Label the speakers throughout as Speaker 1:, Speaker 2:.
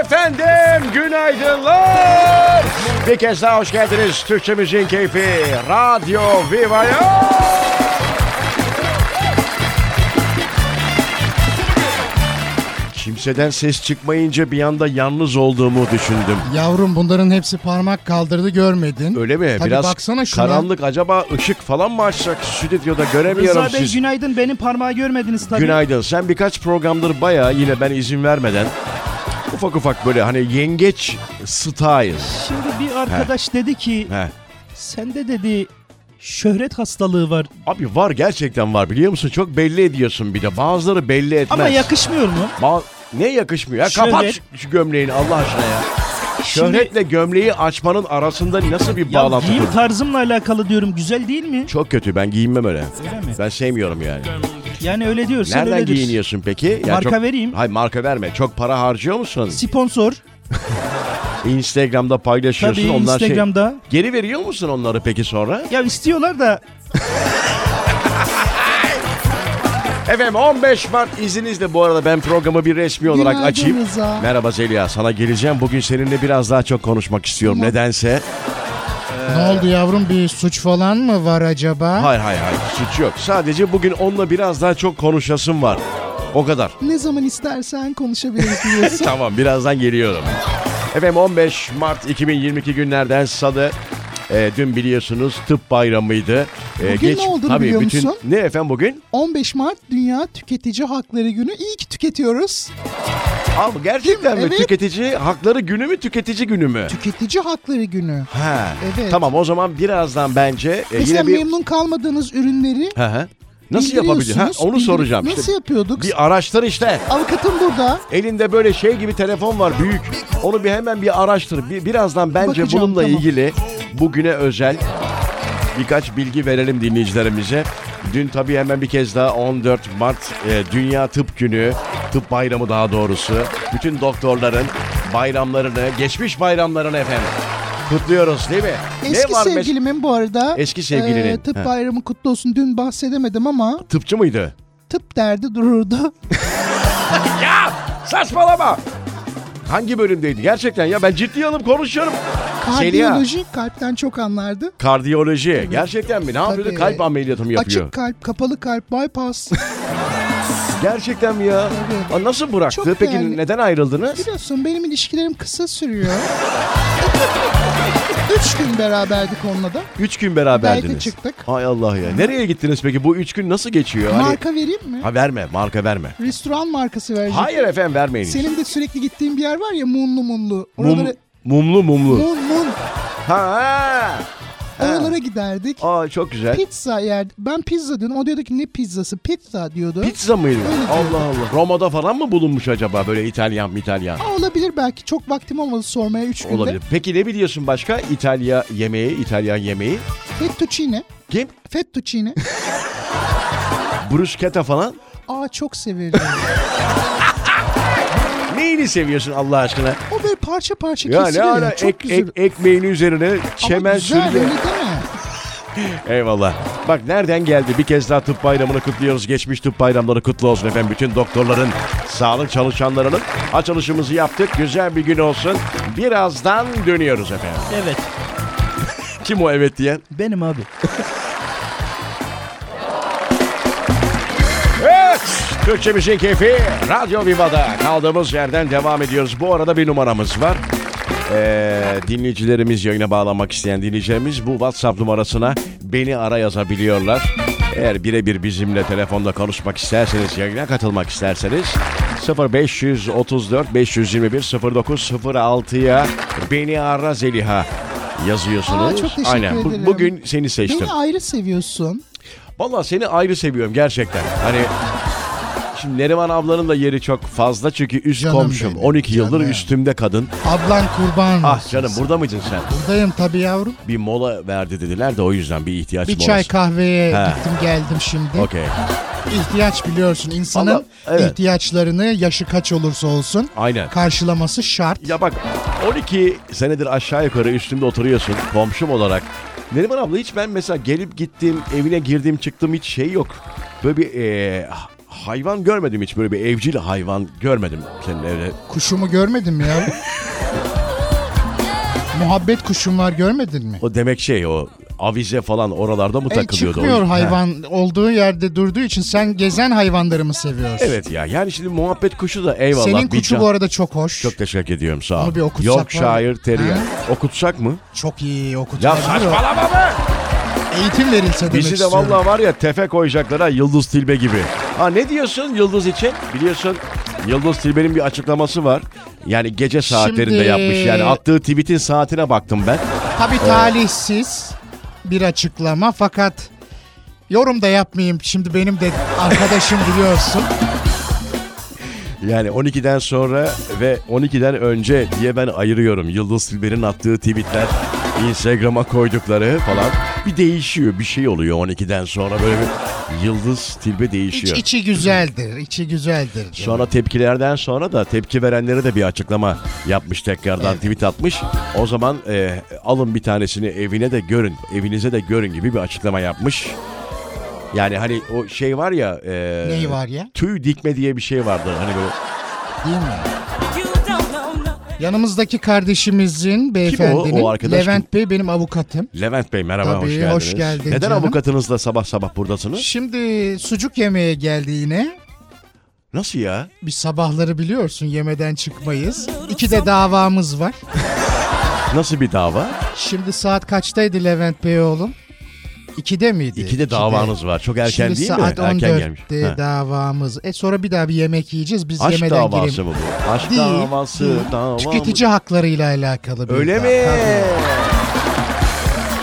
Speaker 1: Efendim günaydınlar. Bir kez daha hoş geldiniz Türkçe Müziğin Keyfi Radyo Viva'ya. Kimseden ses çıkmayınca bir anda yalnız olduğumu düşündüm.
Speaker 2: Yavrum bunların hepsi parmak kaldırdı görmedin.
Speaker 1: Öyle mi?
Speaker 2: Tabii
Speaker 1: Biraz
Speaker 2: baksana şuna.
Speaker 1: karanlık acaba ışık falan mı açsak stüdyoda göremiyorum
Speaker 3: Rıza Bey
Speaker 1: sizi.
Speaker 3: günaydın. Benim parmağı görmediniz tabii.
Speaker 1: Günaydın. Sen birkaç programdır bayağı yine ben izin vermeden ufak ufak böyle hani yengeç style'ız.
Speaker 3: Şimdi bir arkadaş dedi ki
Speaker 1: He.
Speaker 3: sende dedi şöhret hastalığı var
Speaker 1: Abi var gerçekten var biliyor musun? Çok belli ediyorsun bir de. Bazıları belli etmez.
Speaker 3: ama yakışmıyor mu?
Speaker 1: Ba- ne yakışmıyor ya?
Speaker 3: Şöhret.
Speaker 1: Kapat şu- şu gömleğini Allah aşkına ya. Şöhretle gömleği açmanın arasında nasıl bir
Speaker 3: Ya
Speaker 1: bağlantı
Speaker 3: giyim
Speaker 1: kurulur?
Speaker 3: tarzımla alakalı diyorum güzel değil mi?
Speaker 1: Çok kötü ben giyinmem öyle.
Speaker 3: Öyle mi?
Speaker 1: Ben sevmiyorum yani.
Speaker 3: Yani öyle diyorsun öyle
Speaker 1: Nereden
Speaker 3: diyorsun.
Speaker 1: giyiniyorsun peki? Ya
Speaker 3: Marka
Speaker 1: çok-
Speaker 3: vereyim.
Speaker 1: Hayır marka verme. Çok para harcıyor musun?
Speaker 3: Sponsor
Speaker 1: Instagram'da paylaşıyorsun
Speaker 3: tabii
Speaker 1: onlar şey.
Speaker 3: Instagram'da.
Speaker 1: Geri veriyor musun onları peki sonra?
Speaker 3: Ya istiyorlar da
Speaker 1: Efendim 15 Mart izninizle bu arada ben programı bir resmi olarak
Speaker 2: Günaydın
Speaker 1: açayım.
Speaker 2: Rıza.
Speaker 1: Merhaba Zeliha sana geleceğim. Bugün seninle biraz daha çok konuşmak istiyorum nedense.
Speaker 2: Ne oldu yavrum bir suç falan mı var acaba?
Speaker 1: Hayır hayır hayır suç yok. Sadece bugün onunla biraz daha çok konuşasım var. O kadar.
Speaker 2: Ne zaman istersen konuşabiliriz biliyorsun.
Speaker 1: Tamam birazdan geliyorum. Efendim 15 Mart 2022 günlerden salı. Ee, dün biliyorsunuz tıp bayramıydı. Ee,
Speaker 4: Bugün ne olduğunu biliyor musun?
Speaker 1: Ne efendim bugün?
Speaker 4: 15 Mart Dünya Tüketici Hakları Günü. İyi ki tüketiyoruz.
Speaker 1: Aa, gerçekten mi?
Speaker 4: Evet.
Speaker 1: Tüketici hakları günü mü tüketici günü mü?
Speaker 4: Tüketici Hakları Günü.
Speaker 1: Ha.
Speaker 4: Evet.
Speaker 1: Tamam o zaman birazdan bence e,
Speaker 4: Mesela
Speaker 1: yine bir
Speaker 4: memnun kalmadığınız ürünleri
Speaker 1: Hı hı. Nasıl yapabilir? Ha,
Speaker 4: bildiriyorsunuz.
Speaker 1: onu
Speaker 4: Bildir-
Speaker 1: soracağım
Speaker 4: Nasıl
Speaker 1: işte.
Speaker 4: yapıyorduk?
Speaker 1: Bir araştır işte.
Speaker 4: Avukatım burada.
Speaker 1: Elinde böyle şey gibi telefon var büyük. Onu bir hemen bir araştır. Bir, birazdan bence
Speaker 4: Bakacağım,
Speaker 1: bununla
Speaker 4: tamam.
Speaker 1: ilgili bugüne özel birkaç bilgi verelim dinleyicilerimize. Dün tabii hemen bir kez daha 14 Mart e, Dünya Tıp Günü, Tıp Bayramı daha doğrusu. Bütün doktorların bayramlarını, geçmiş bayramlarını efendim kutluyoruz değil mi?
Speaker 4: Eski
Speaker 1: ne var mes-
Speaker 4: sevgilimin bu arada.
Speaker 1: Eski sevgilinin.
Speaker 4: e, tıp
Speaker 1: Ha.
Speaker 4: bayramı kutlu olsun. Dün bahsedemedim ama
Speaker 1: Tıpçı mıydı?
Speaker 4: tıp derdi dururdu.
Speaker 1: Saçmalama. Hangi bölümdeydi? Gerçekten ya ben ciddiye alıp konuşuyorum. Zeliha,
Speaker 4: Kardiyoloji kalpten çok anlardı.
Speaker 1: Kardiyoloji. Gerçekten mi? Ne yapıyordu?
Speaker 4: Tabii.
Speaker 1: Kalp ameliyatı mı yapıyor?
Speaker 4: Açık kalp, kapalı kalp, bypass.
Speaker 1: Gerçekten mi ya?
Speaker 4: Tabii.
Speaker 1: Aa, Nasıl bıraktı?
Speaker 4: Çok
Speaker 1: Peki
Speaker 4: değerli.
Speaker 1: neden ayrıldınız?
Speaker 4: Biliyorsun benim ilişkilerim kısa sürüyor. Üç gün beraberdik onunla da.
Speaker 1: Üç gün beraberdiniz.
Speaker 4: Belki çıktık.
Speaker 1: Hay Allah ya. Nereye gittiniz peki? Bu üç gün nasıl geçiyor? Hani-
Speaker 4: Marka vereyim mi?
Speaker 1: Ha verme, marka verme.
Speaker 4: Restoran markası vereceğim.
Speaker 1: Hayır efendim vermeyin.
Speaker 4: Senin de sürekli gittiğin bir yer var ya Munlu Munlu.
Speaker 1: Mum-
Speaker 4: Oralara,
Speaker 1: mumlu mumlu.
Speaker 4: Mun Mun.
Speaker 1: Ha, ha.
Speaker 4: Oralara giderdik.
Speaker 1: Aa çok güzel.
Speaker 4: Pizza yerdik. Ben pizza diyordum. O diyordu ki ne pizzası? Pizza diyordu.
Speaker 1: Pizza mıydı?
Speaker 4: Öyle
Speaker 1: Allah Allah. Roma'da falan mı bulunmuş acaba böyle İtalyan İtalyan?
Speaker 4: Aa, olabilir belki. Çok vaktim olmadı sormaya 3 günde.
Speaker 1: Olabilir. Peki ne biliyorsun başka? İtalya yemeği, İtalyan yemeği.
Speaker 4: Fettuccine.
Speaker 1: Kim?
Speaker 4: Fettuccine.
Speaker 1: Bruschetta falan.
Speaker 4: Aa çok severim.
Speaker 1: Neyini seviyorsun Allah aşkına?
Speaker 4: o böyle parça parça
Speaker 1: Ya ne
Speaker 4: kesiliyor.
Speaker 1: ara
Speaker 4: çok
Speaker 1: ek,
Speaker 4: güzel.
Speaker 1: ek, ekmeğini üzerine
Speaker 4: Ama
Speaker 1: çemen
Speaker 4: güzel
Speaker 1: sürüyor.
Speaker 4: öyle değil mi?
Speaker 1: Eyvallah. Bak nereden geldi? Bir kez daha tıp bayramını kutluyoruz. Geçmiş tıp bayramları kutlu olsun efendim. Bütün doktorların, sağlık çalışanlarının açılışımızı yaptık. Güzel bir gün olsun. Birazdan dönüyoruz efendim.
Speaker 3: evet
Speaker 1: Kim o evet diyen?
Speaker 3: benim abi.
Speaker 1: Evet. Türkçe Müzik Keyfi Radyo Viva'da kaldığımız yerden devam ediyoruz. Bu arada bir numaramız var. Ee, dinleyicilerimiz yayına bağlanmak isteyen dinleyicilerimiz bu WhatsApp numarasına beni ara yazabiliyorlar. Eğer birebir bizimle telefonda konuşmak isterseniz, yayına katılmak isterseniz 0534 521 0906'ya beni ara Zeliha yazıyorsunuz.
Speaker 4: Aa, çok teşekkür
Speaker 1: Aynen. Bu-
Speaker 4: ederim.
Speaker 1: bugün seni seçtim.
Speaker 4: Beni ayrı seviyorsun.
Speaker 1: Vallahi seni ayrı seviyorum gerçekten. Hani şimdi Neriman ablanın da yeri çok fazla çünkü üst
Speaker 2: Canım
Speaker 1: komşum.
Speaker 2: benim,
Speaker 1: 12 yıldır
Speaker 2: canım.
Speaker 1: üstümde kadın.
Speaker 2: Ablan kurban.
Speaker 1: Ah canım burada mıydın sen?
Speaker 2: Buradayım tabii yavrum.
Speaker 1: Bir mola verdi dediler de o yüzden bir ihtiyaç
Speaker 2: Bir
Speaker 1: molası.
Speaker 2: çay kahveye
Speaker 1: He.
Speaker 2: gittim geldim şimdi.
Speaker 1: Okey.
Speaker 2: İhtiyaç biliyorsun insanın
Speaker 1: Vallahi, evet.
Speaker 2: ihtiyaçlarını yaşı kaç olursa olsun
Speaker 1: Aynen.
Speaker 2: karşılaması şart.
Speaker 1: Ya bak 12 senedir aşağı yukarı üstümde oturuyorsun komşum olarak. Neriman abla hiç ben mesela gelip gittim, evine girdim, çıktım hiç şey yok. Böyle bir eee, hayvan görmedim hiç böyle bir evcil hayvan görmedim senin evde.
Speaker 2: Kuşumu görmedin mi yavrum? Muhabbet kuşum var görmedin mi?
Speaker 1: O demek şey o avize falan oralarda mı
Speaker 2: E,
Speaker 1: takılıyordu? o?
Speaker 2: çıkmıyor
Speaker 1: Ha.
Speaker 2: hayvan olduğu yerde durduğu için sen gezen hayvanları mı seviyorsun?
Speaker 1: Evet ya yani şimdi muhabbet kuşu da eyvallah.
Speaker 2: Senin
Speaker 1: bir
Speaker 2: kuşu
Speaker 1: can-
Speaker 2: bu arada çok hoş.
Speaker 1: Çok teşekkür ediyorum sağ ol.
Speaker 2: Onu bir okutsak
Speaker 1: Yok şair
Speaker 2: var mı?
Speaker 1: Terrier.
Speaker 2: Ha?
Speaker 1: Okutsak mı?
Speaker 2: Çok iyi okutulur.
Speaker 1: Ya saçmalama be!
Speaker 2: Eğitim verilse demek
Speaker 1: Bizi de
Speaker 2: istiyorum.
Speaker 1: vallahi var ya tefe koyacaklara Yıldız Tilbe gibi. Ha ne diyorsun Yıldız için? Biliyorsun Yıldız Tilbe'nin bir açıklaması var. Yani gece saatlerinde
Speaker 2: Şimdi-
Speaker 1: yapmış. Yani attığı tweet'in saatine baktım ben.
Speaker 2: Tabii talihsiz bir açıklama fakat yorum da yapmayayım. Şimdi benim de arkadaşım biliyorsun.
Speaker 1: Yani 12'den sonra ve 12'den önce diye ben ayırıyorum. Yıldız Tilbe'nin attığı tweetler, Instagram'a koydukları falan bir değişiyor. Bir şey oluyor 12'den sonra böyle bir Yıldız Tilbe
Speaker 2: İç,
Speaker 1: değişiyor.
Speaker 2: içi güzeldir, içi güzeldir.
Speaker 1: Sonra tepkilerden sonra da tepki verenlere de bir açıklama yapmış tekrardan tweet atmış. O zaman e, alın bir tanesini evine de görün, evinize de görün gibi bir açıklama yapmış. Yani hani o şey var ya... E,
Speaker 2: Neyi var ya?
Speaker 1: Tüy dikme diye bir şey vardı. Hani böyle
Speaker 2: Değil mi?
Speaker 5: You don't know nothing.
Speaker 2: Yanımızdaki kardeşimizin beyefendinin
Speaker 1: O arkadaş
Speaker 2: Levent Bey benim avukatım.
Speaker 1: Levent Bey merhaba
Speaker 2: Tabii,
Speaker 1: hoş geldiniz.
Speaker 2: hoş geldin
Speaker 1: Neden
Speaker 2: canım.
Speaker 1: avukatınızla sabah sabah buradasınız?
Speaker 2: Şimdi sucuk yemeye geldi yine.
Speaker 1: Nasıl ya?
Speaker 2: Bir sabahları biliyorsun yemeden çıkmayız. İki de davamız var.
Speaker 1: Nasıl bir dava?
Speaker 2: Şimdi saat kaçtaydı Levent Bey oğlum? İkide miydi?
Speaker 1: İkide davanız var. Çok erken
Speaker 2: Şimdi
Speaker 1: değil mi?
Speaker 2: saat
Speaker 1: erken gelmiş.
Speaker 2: 14'te
Speaker 1: Ha.
Speaker 2: davamız. E sonra bir daha bir yemek yiyeceğiz. Biz
Speaker 1: Aşk
Speaker 2: yemeden
Speaker 1: davası
Speaker 2: girelim.
Speaker 1: mı bu? Aşk
Speaker 2: Değil,
Speaker 1: davası,
Speaker 2: değil.
Speaker 1: dava mı?
Speaker 2: Tüketici haklarıyla alakalı bir
Speaker 1: Öyle
Speaker 2: dava.
Speaker 1: mi?
Speaker 2: Tabii.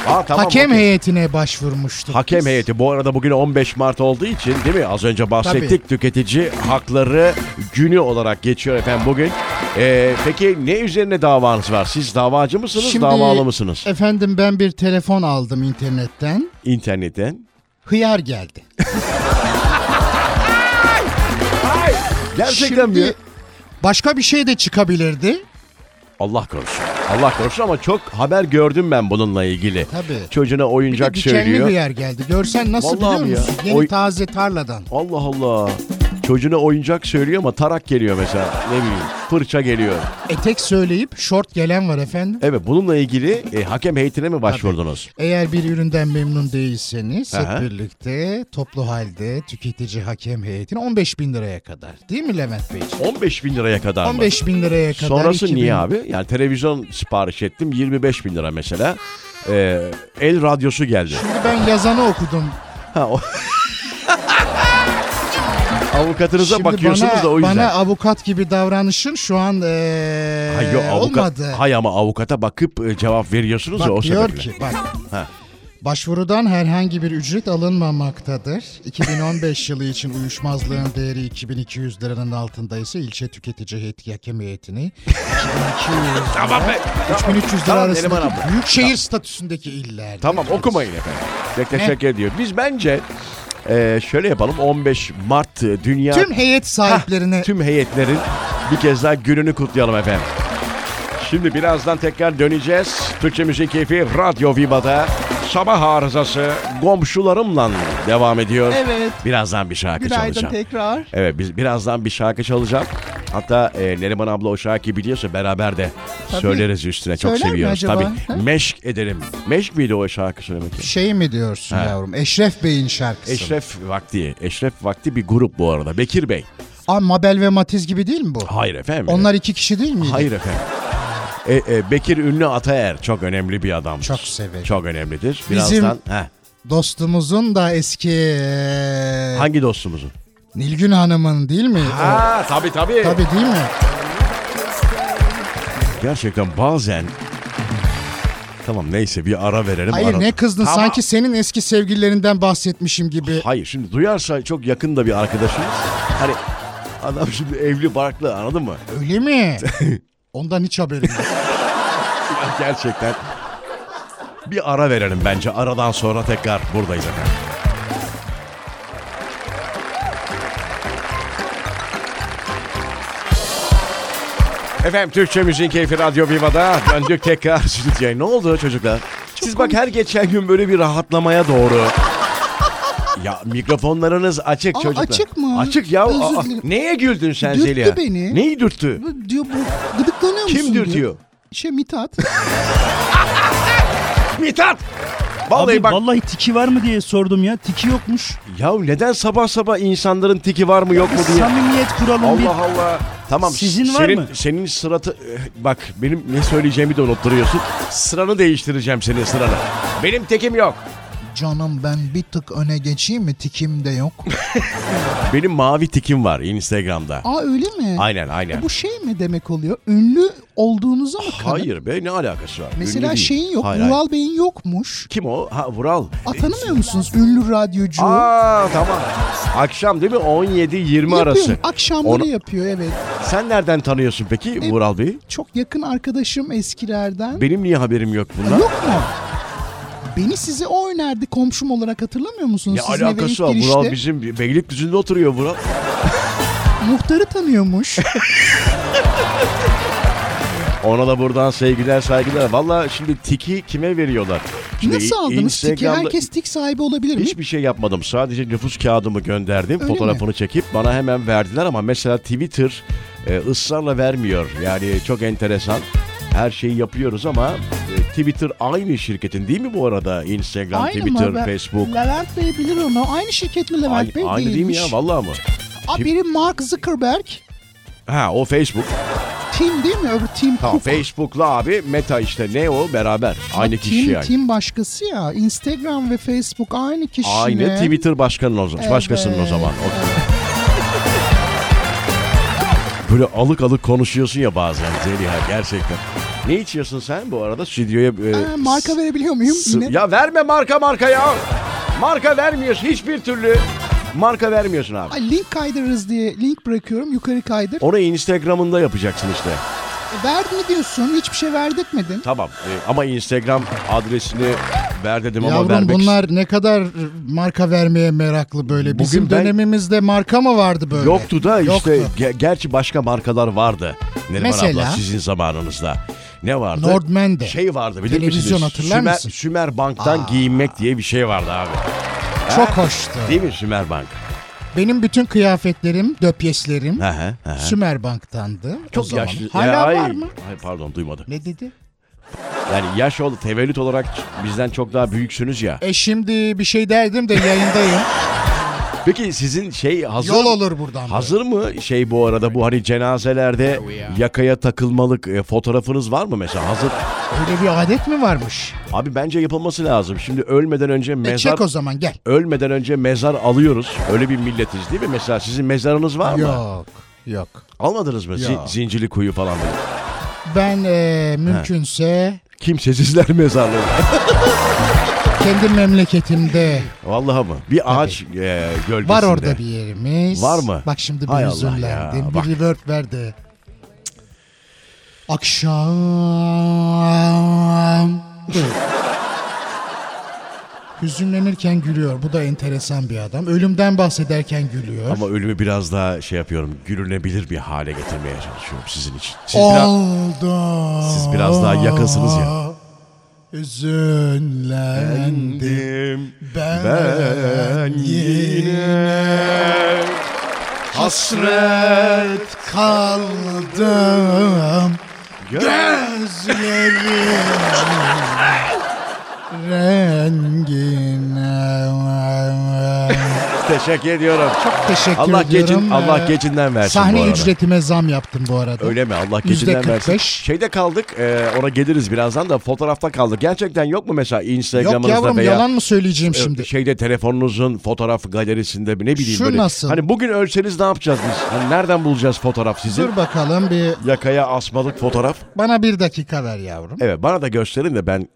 Speaker 1: Aa, tamam,
Speaker 2: Hakem
Speaker 1: okey.
Speaker 2: heyetine başvurmuştuk.
Speaker 1: Hakem
Speaker 2: biz.
Speaker 1: heyeti bu arada bugün 15 Mart olduğu için değil mi? Az önce bahsettik tüketici hakları günü olarak geçiyor efendim bugün. Ee, peki ne üzerine davanız var? Siz davacı mısınız, davalı mısınız?
Speaker 2: Efendim ben bir telefon aldım internetten.
Speaker 1: İnternetten.
Speaker 2: Hıyar geldi.
Speaker 1: Gerçekten mi? ya?
Speaker 2: başka bir şey de çıkabilirdi.
Speaker 1: Allah korusun. Allah korusun ama çok haber gördüm ben bununla ilgili.
Speaker 2: Tabii.
Speaker 1: Çocuğuna
Speaker 2: Bir de
Speaker 1: oyuncak
Speaker 2: dikenli
Speaker 1: söylüyor.
Speaker 2: hıyar geldi. Görsen nasıl
Speaker 1: Vallahi
Speaker 2: biliyor
Speaker 1: mi
Speaker 2: musun?
Speaker 1: ya?
Speaker 2: Yeni
Speaker 1: Oy-
Speaker 2: taze tarladan.
Speaker 1: Allah Allah. Çocuğuna oyuncak söylüyor ama tarak geliyor mesela. Ne bileyim fırça geliyor.
Speaker 2: Etek söyleyip şort gelen var efendim.
Speaker 1: Evet bununla ilgili e, hakem heyetine mi başvurdunuz?
Speaker 2: Eğer bir üründen memnun değilseniz
Speaker 1: Aha.
Speaker 2: hep birlikte toplu halde tüketici hakem heyetine 15 bin liraya kadar değil mi Levent Beyciğim?
Speaker 1: 15 bin liraya kadar mı?
Speaker 2: 15 bin liraya kadar.
Speaker 1: Sonrası
Speaker 2: 2000
Speaker 1: niye abi? Yani televizyon sipariş ettim 25 bin lira mesela. Ee, el radyosu geldi.
Speaker 2: Şimdi ben yazanı okudum.
Speaker 1: Ha, o- Avukatınıza
Speaker 2: Şimdi
Speaker 1: bakıyorsunuz
Speaker 2: bana,
Speaker 1: da o yüzden.
Speaker 2: Bana avukat gibi davranışın şu an ee,
Speaker 1: Hayır, yok, avukat,
Speaker 2: olmadı.
Speaker 1: Hay ama avukata bakıp e, cevap veriyorsunuz ya o
Speaker 2: Bak diyor
Speaker 1: sebeple.
Speaker 2: ki bak.
Speaker 1: Ha.
Speaker 2: Başvurudan herhangi bir ücret alınmamaktadır. 2015 yılı için uyuşmazlığın değeri 2200 liranın altında ise ilçe tüketici heyeti hakem heyetini 2200
Speaker 1: Tamam be.
Speaker 2: 3300 lira
Speaker 1: Tamam,
Speaker 2: arasındaki
Speaker 1: Neriman abla.
Speaker 2: büyükşehir statüsündeki iller.
Speaker 1: Tamam okumayın efendim. Tek teşekkür ediyorum. Biz bence e, şöyle yapalım 15 Mart e, Dünya
Speaker 2: Tüm heyet sahiplerine
Speaker 1: tüm heyetlerin bir kez daha gününü kutlayalım efendim. Şimdi birazdan tekrar döneceğiz. Türkçe Müzik Keyfi Radyo Viva'da sabah arızası komşularımla devam ediyor.
Speaker 4: Evet.
Speaker 1: Birazdan bir şarkı
Speaker 4: Günaydın
Speaker 1: çalacağım.
Speaker 4: tekrar.
Speaker 1: Evet biz birazdan bir şarkı çalacağım. Hatta e, Neriman abla o şarkıyı biliyorsa beraber de söyleriz üstüne. Çok
Speaker 4: Söyler mi
Speaker 1: seviyoruz.
Speaker 4: acaba?
Speaker 1: Tabii. Meşk ederim. Meşk miydi o şarkı söylemek?
Speaker 2: şey mi diyorsun yavrum? Eşref Bey'in şarkısı.
Speaker 1: Eşref Vakti. Eşref Vakti bir grup bu arada. Bekir Bey.
Speaker 2: Aa, Mabel ve Matiz gibi değil mi bu?
Speaker 1: Hayır efendim.
Speaker 2: Onlar iki kişi değil miydi?
Speaker 1: Hayır efendim. E, e, Bekir Ünlü Ataer çok önemli bir adamdır.
Speaker 2: Çok severim.
Speaker 1: Çok önemlidir.
Speaker 2: Bizim- e,
Speaker 1: Birazdan heh,
Speaker 2: Dostumuzun da eski ee,
Speaker 1: hangi dostumuzun?
Speaker 2: Nilgün Hanım'ın değil mi? O-
Speaker 1: Ha tabii tabii.
Speaker 2: Tabii değil mi?
Speaker 1: Gerçekten bazen Tamam neyse bir ara verelim.
Speaker 2: Hayır
Speaker 1: Ara-
Speaker 2: ne kızdın
Speaker 1: Tamam.
Speaker 2: sanki senin eski sevgililerinden bahsetmişim gibi.
Speaker 1: Hayır şimdi duyarsa çok yakında bir arkadaşımız. Hani adam şimdi evli barklı anladın mı?
Speaker 2: Öyle mi? Ondan hiç haberim yok.
Speaker 1: Ya Ah, Gerçekten. Bir ara verelim bence. Aradan sonra tekrar buradayız efendim. Efendim Türkçe Müziğin Keyfi Radyo Viva'da döndük tekrar stüdyoya. Ne oldu çocuklar? Siz bak her geçen gün böyle bir rahatlamaya doğru Ya mikrofonlarınız açık
Speaker 4: Aa,
Speaker 1: çocuklar.
Speaker 4: açık mı?
Speaker 1: Açık ya.
Speaker 4: Özür
Speaker 1: Aa,
Speaker 4: dilerim.
Speaker 1: neye güldün sen
Speaker 4: Dürttü
Speaker 1: Zeliha?
Speaker 4: beni.
Speaker 1: Neyi dürttü?
Speaker 4: Bu- Diyor bu gıdıklanıyor musun?
Speaker 1: Kim dürtüyor?
Speaker 4: Şey Mithat.
Speaker 1: Mithat! Vallahi
Speaker 3: Vallahi
Speaker 1: bak.
Speaker 3: vallahi tiki var mı diye sordum ya. Tiki yokmuş.
Speaker 1: Ya neden sabah sabah insanların tiki var mı yok mu diye.
Speaker 3: Samimiyet kuralım bir.
Speaker 1: Allah Allah. Tamam.
Speaker 3: Sizin var
Speaker 1: senin,
Speaker 3: mı?
Speaker 1: Senin sıratı... eh, Bak benim ne söyleyeceğimi de unutturuyorsun. Sıranı değiştireceğim senin sıranı. Benim tekim yok.
Speaker 2: Canım ben bir tık öne geçeyim mi? Tikim de yok.
Speaker 1: Benim mavi tikim var Instagram'da.
Speaker 4: Aa öyle mi?
Speaker 1: Aynen aynen.
Speaker 4: Bu şey mi demek oluyor? Ünlü olduğunuza mı kanıt?
Speaker 1: Hayır be ne alakası var? Ünlü
Speaker 4: Mesela
Speaker 1: değil.
Speaker 4: şeyin yok.
Speaker 1: Hayır, hayır.
Speaker 4: Vural Bey'in yokmuş.
Speaker 1: Kim o? Ha Vural.
Speaker 4: Aa, tanımıyor musunuz ünlü radyocu?
Speaker 1: Aa tamam. Akşam değil mi? 17-20
Speaker 4: Yapıyor.
Speaker 1: arası.
Speaker 4: Akşamları E,
Speaker 1: Onu-
Speaker 4: yapıyor evet.
Speaker 1: Sen nereden tanıyorsun peki Vural Bey'i?
Speaker 4: Çok yakın arkadaşım eskilerden.
Speaker 1: Benim niye haberim yok bundan?
Speaker 4: Yok mu? Beni size o önerdi komşum olarak hatırlamıyor musunuz?
Speaker 1: Ne
Speaker 4: Sizin eve ilk
Speaker 1: alakası var?
Speaker 4: girişte
Speaker 1: Vural bizim Beylikdüzü'nde oturuyor Vural.
Speaker 4: Muhtarı tanıyormuş.
Speaker 1: Ona da buradan sevgiler saygılar. Valla şimdi tiki kime veriyorlar? Şimdi
Speaker 4: Nasıl aldınız tiki?
Speaker 1: Instagram'da
Speaker 4: Herkes tik sahibi olabilir mi?
Speaker 1: Hiçbir şey yapmadım. Sadece nüfus kağıdımı gönderdim.
Speaker 4: Öyle
Speaker 1: fotoğrafını çekip bana hemen verdiler ama mesela Twitter e, ısrarla vermiyor. Yani çok enteresan. Her şeyi yapıyoruz ama e, Twitter aynı şirketin değil mi bu arada? Instagram,
Speaker 4: Aynı
Speaker 1: Twitter,
Speaker 4: mı? Ben-
Speaker 1: Facebook.
Speaker 4: Levent Bey bilir onu. Aynı şirket mi Levent
Speaker 1: Aynı,
Speaker 4: Bey?
Speaker 1: aynı değil mi ya?
Speaker 4: Değilmiş.
Speaker 1: Vallahi mı?
Speaker 4: Aa, biri Mark Zuckerberg.
Speaker 1: Ha o Facebook.
Speaker 4: Tim değil mi? Öbür Tim
Speaker 1: Tamam
Speaker 4: Cook.
Speaker 1: Facebook'la abi Meta işte ne o beraber. Aynı kişi
Speaker 4: Tim,
Speaker 1: yani.
Speaker 4: Tim başkası ya. Instagram ve Facebook aynı kişi.
Speaker 1: Aynı Twitter başkanın o zaman. Başkasının o zaman. O- Böyle alık alık konuşuyorsun ya bazen Zeliha gerçekten. Ne içiyorsun sen bu arada stüdyoya? e,
Speaker 4: Aa, marka verebiliyor muyum?
Speaker 1: s-
Speaker 4: Yine?
Speaker 1: Ya verme marka marka ya. Marka vermiyorsun hiçbir türlü. Marka vermiyorsun abi.
Speaker 4: Ay, link kaydırırız diye link bırakıyorum. Yukarı kaydır. E,
Speaker 1: Onu Instagram'ında yapacaksın işte.
Speaker 4: Verdi mi diyorsun? Hiçbir şey verdirtmedin.
Speaker 1: Tamam e, ama Instagram adresini ver dedim ama
Speaker 2: Yavrum
Speaker 1: vermek
Speaker 2: bunlar ne kadar marka vermeye meraklı böyle. Bizim
Speaker 1: Bugün ben-
Speaker 2: dönemimizde marka mı vardı böyle?
Speaker 1: Yoktu da işte
Speaker 2: Yoktu.
Speaker 1: ge- gerçi başka markalar vardı. Neriman
Speaker 2: Mesela?
Speaker 1: abla sizin zamanınızda. Ne vardı?
Speaker 2: Nordman'de.
Speaker 1: Şey vardı bilir
Speaker 2: Televizyon
Speaker 1: misiniz?
Speaker 2: hatırlar
Speaker 1: Sümer,
Speaker 2: mısın?
Speaker 1: Sümer Bank'tan giyinmek diye bir şey vardı abi.
Speaker 2: Çok hoştu.
Speaker 1: Değil mi Sümer Bank?
Speaker 2: Benim bütün kıyafetlerim, döpyeslerim
Speaker 1: Hı hı, hı hı.
Speaker 2: Sümer Bank'tandı. o
Speaker 1: Çok
Speaker 2: zaman.
Speaker 1: yaşlı.
Speaker 2: Hala
Speaker 1: Ya, ay,
Speaker 2: var mı?
Speaker 1: Ay pardon duymadı.
Speaker 2: Ne dedi?
Speaker 1: Yani yaş oldu tevellüt olarak bizden çok daha büyüksünüz ya.
Speaker 2: E şimdi bir şey derdim de yayındayım.
Speaker 1: Peki sizin şey hazır
Speaker 2: Yol olur buradan. böyle.
Speaker 1: Hazır mı şey bu arada bu hani cenazelerde yakaya takılmalık e, fotoğrafınız var mı mesela hazır?
Speaker 2: Öyle bir adet mi varmış?
Speaker 1: Abi bence yapılması lazım. Şimdi ölmeden önce
Speaker 2: E
Speaker 1: mezar
Speaker 2: çek o zaman gel.
Speaker 1: ölmeden önce mezar alıyoruz. Öyle bir milletiz değil mi? Mesela sizin mezarınız var mı?
Speaker 2: Yok. Yok.
Speaker 1: Almadınız mı? Zi-
Speaker 2: Yok.
Speaker 1: zincirli kuyu falan böyle.
Speaker 2: Ben e, mümkünse
Speaker 1: Kimsesizler mezarlığı.
Speaker 2: kendi memleketimde
Speaker 1: Vallahi mı? Bir ağaç e, gölgesinde.
Speaker 2: var orada bir yerimiz.
Speaker 1: Var mı?
Speaker 2: Bak şimdi
Speaker 1: Hay
Speaker 2: bir
Speaker 1: Allah
Speaker 2: üzümlendim.
Speaker 1: ya,
Speaker 2: Bir
Speaker 1: bak.
Speaker 2: reverb ver de. Akşam. Hüzünlenirken gülüyor. Bu da enteresan bir adam. Ölümden bahsederken gülüyor.
Speaker 1: Ama ölümü biraz daha şey yapıyorum. Gülünebilir bir hale getirmeye çalışıyorum sizin için. Siz biraz,
Speaker 2: Oldu.
Speaker 1: siz biraz daha yakınsınız ya.
Speaker 2: Hüzünlendim. Ben, yine hasret kaldım gözlerim rengine.
Speaker 1: Teşekkür ediyorum.
Speaker 2: Çok teşekkür
Speaker 1: Allah
Speaker 2: ediyorum.
Speaker 1: geçin Allah
Speaker 2: Ee,
Speaker 1: geçinden versin bu
Speaker 2: Sahne
Speaker 1: arada.
Speaker 2: ücretime zam yaptım bu arada.
Speaker 1: Öyle mi? Allah
Speaker 2: Yüzde
Speaker 1: geçinden versin.
Speaker 2: 45.
Speaker 1: Şeyde kaldık. e, ona geliriz birazdan da fotoğrafta kaldık. Gerçekten yok mu mesela
Speaker 2: Yok
Speaker 1: Instagram'ınızda
Speaker 2: yavrum
Speaker 1: veya
Speaker 2: yalan mı söyleyeceğim şimdi?
Speaker 1: şeyde telefonunuzun fotoğraf galerisinde mi ne bileyim
Speaker 2: Şu
Speaker 1: böyle.
Speaker 2: nasıl?
Speaker 1: Hani bugün ölseniz ne yapacağız biz? Hani nereden bulacağız fotoğraf sizin?
Speaker 2: Dur bakalım bir
Speaker 1: Yakaya asmalık fotoğraf.
Speaker 2: bana bir dakika ver yavrum.
Speaker 1: Evet bana da gösterin de ben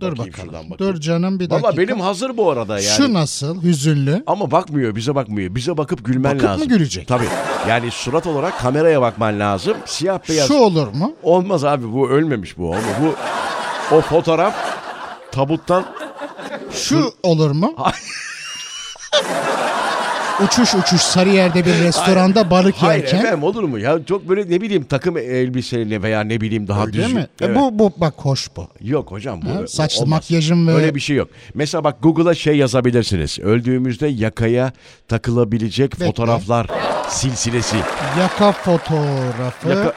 Speaker 2: Dur
Speaker 1: bakayım
Speaker 2: bakalım.
Speaker 1: şuradan bakayım.
Speaker 2: Dur canım bir dakika.
Speaker 1: Valla benim hazır bu arada yani.
Speaker 2: Şu nasıl? Hüzünlü.
Speaker 1: Ama bakmıyor bize bakmıyor. Bize bakıp gülmen
Speaker 2: Bakıp mı
Speaker 1: lazım.
Speaker 2: gülecek?
Speaker 1: Tabii. Yani surat olarak kameraya bakman lazım. Siyah beyaz.
Speaker 2: Şu olur mu?
Speaker 1: Olmaz abi bu ölmemiş bu. Ama bu o fotoğraf tabuttan
Speaker 2: Şu olur mu?
Speaker 6: Uçuş uçuş Sarıyer'de bir restoranda balık
Speaker 1: Hayır
Speaker 6: yerken.
Speaker 1: efendim olur mu? Ya çok böyle ne bileyim takım elbiseyle veya ne bileyim daha
Speaker 6: Öyle
Speaker 1: düzgün.
Speaker 6: mi? E
Speaker 1: Evet.
Speaker 6: bu, bu bak hoş bu.
Speaker 1: Yok hocam bu
Speaker 6: Ha, saçlı
Speaker 1: olmaz.
Speaker 6: makyajım ve-
Speaker 1: Öyle bir şey yok. Mesela bak Google'a şey yazabilirsiniz. Öldüğümüzde yakaya takılabilecek
Speaker 6: Bekle.
Speaker 1: fotoğraflar silsilesi.
Speaker 6: Yaka fotoğrafı.
Speaker 1: Yaka-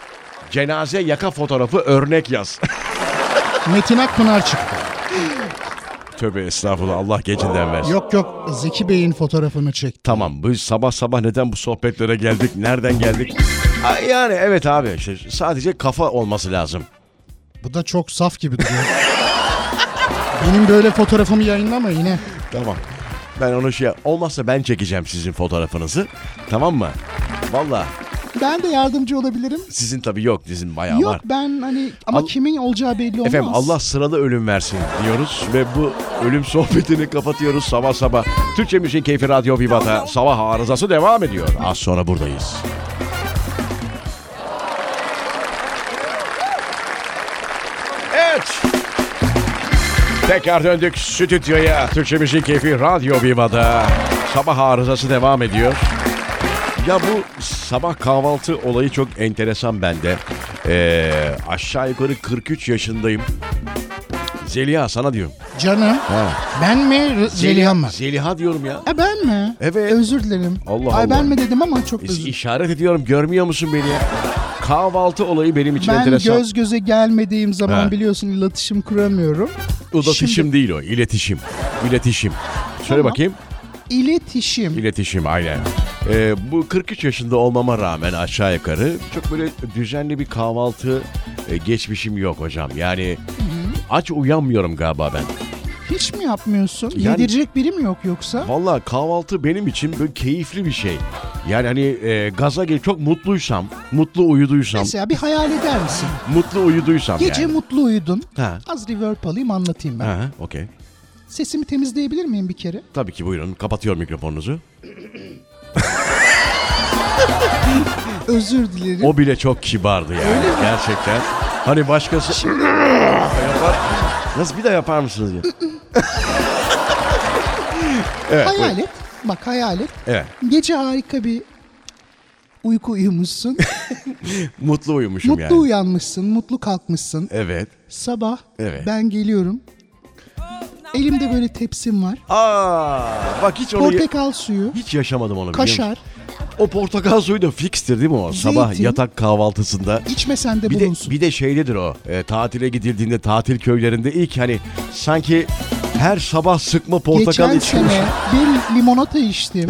Speaker 1: cenaze yaka fotoğrafı örnek yaz.
Speaker 6: Metin Akpınar çıktı.
Speaker 1: Tövbe estağfurullah Allah gecinden versin.
Speaker 6: Yok yok Zeki Bey'in fotoğrafını çekti.
Speaker 1: Tamam bu sabah sabah neden bu sohbetlere geldik? Nereden geldik? Ha, Yani evet abi işte sadece kafa olması lazım.
Speaker 6: Bu da çok saf gibi duruyor. Benim böyle fotoğrafımı yayınlama yine.
Speaker 1: Tamam. Ben onu şey olmazsa ben çekeceğim sizin fotoğrafınızı. Tamam mı? Valla
Speaker 2: Ben de yardımcı olabilirim.
Speaker 1: sizin tabii yok sizin bayağı
Speaker 2: Yok
Speaker 1: var.
Speaker 2: ben hani ama
Speaker 1: Al-
Speaker 2: kimin olacağı belli olmaz.
Speaker 1: Efendim Allah sıralı ölüm versin diyoruz ve bu ölüm sohbetini kapatıyoruz sabah sabah. Türkçe Müzik Keyfi Radyo Viva'da sabah arızası devam ediyor. Az sonra buradayız. Evet. Tekrar döndük stüdyoya. Türkçe Müzik Keyfi Radyo Viva'da sabah arızası devam ediyor. Ya bu sabah kahvaltı olayı çok enteresan bende. Ee, aşağı yukarı 43 yaşındayım. Zeliha sana diyorum.
Speaker 6: Canım. Ben mi R- Zeliha mı?
Speaker 1: Zeliha diyorum ya.
Speaker 2: E ben mi?
Speaker 1: Şey- Evet.
Speaker 2: Özür dilerim.
Speaker 1: Allah
Speaker 2: Ay
Speaker 1: Allah.
Speaker 2: ben mi dedim ama çok özür
Speaker 1: İs- İşaret ediyorum görmüyor musun beni ya? Kahvaltı olayı benim için
Speaker 2: Ben
Speaker 1: enteresan.
Speaker 2: göz göze gelmediğim zaman
Speaker 1: Ha.
Speaker 2: biliyorsun iletişim kuramıyorum.
Speaker 1: İletişim
Speaker 2: Şimdi-
Speaker 1: değil o iletişim. İletişim. Söyle
Speaker 2: Tamam.
Speaker 1: bakayım.
Speaker 2: İletişim.
Speaker 1: İletişim aynen. Ee, bu 43 yaşında olmama rağmen aşağı yukarı çok böyle düzenli bir kahvaltı e, geçmişim yok hocam. Yani aç uyanmıyorum galiba ben.
Speaker 2: Hiç mi yapmıyorsun?
Speaker 1: Yani-
Speaker 2: Yedirecek biri mi yok yoksa?
Speaker 1: Valla kahvaltı benim için böyle keyifli bir şey. Yani hani e, gaza gel çok mutluysam, mutlu uyuduysam,
Speaker 2: Mesela bir hayal eder misin?
Speaker 1: mutlu uyuduysam
Speaker 2: Gece
Speaker 1: yani.
Speaker 2: mutlu uyudun.
Speaker 1: Ha.
Speaker 2: Az reverb alayım anlatayım ben.
Speaker 1: Ha, okey.
Speaker 2: Sesimi temizleyebilir miyim bir kere?
Speaker 1: Tabii ki buyurun. Kapatıyorum mikrofonunuzu.
Speaker 2: Özür dilerim.
Speaker 1: O bile çok kibardı yani. Gerçekten. Hani başkası... yapar. Nasıl bir daha yapar mısınız? Ya? evet, buyurun.
Speaker 2: hayal et. Bak hayal et.
Speaker 1: Evet.
Speaker 2: Gece harika bir uyku uyumuşsun.
Speaker 1: Mutlu uyumuşum
Speaker 2: mutlu
Speaker 1: yani.
Speaker 2: uyanmışsın. Mutlu kalkmışsın.
Speaker 1: Evet.
Speaker 2: Sabah
Speaker 1: Evet.
Speaker 2: ben geliyorum. Elimde böyle tepsim var.
Speaker 1: Aa, bak hiç onu...
Speaker 2: Portakal suyu,
Speaker 1: Hiç yaşamadım onu biliyor musun?
Speaker 2: kaşar.
Speaker 1: O portakal suyu da fikstir değil mi o? Sabah
Speaker 2: Zeytin.
Speaker 1: yatak kahvaltısında.
Speaker 2: İçmesen de
Speaker 1: Bir de,
Speaker 2: bulunsun.
Speaker 1: bir de şeydedir o. e, tatile gidildiğinde tatil köylerinde ilk hani sanki her sabah sıkma portakal
Speaker 2: Geçen
Speaker 1: içiyormuş.
Speaker 2: sene bir limonata içtim.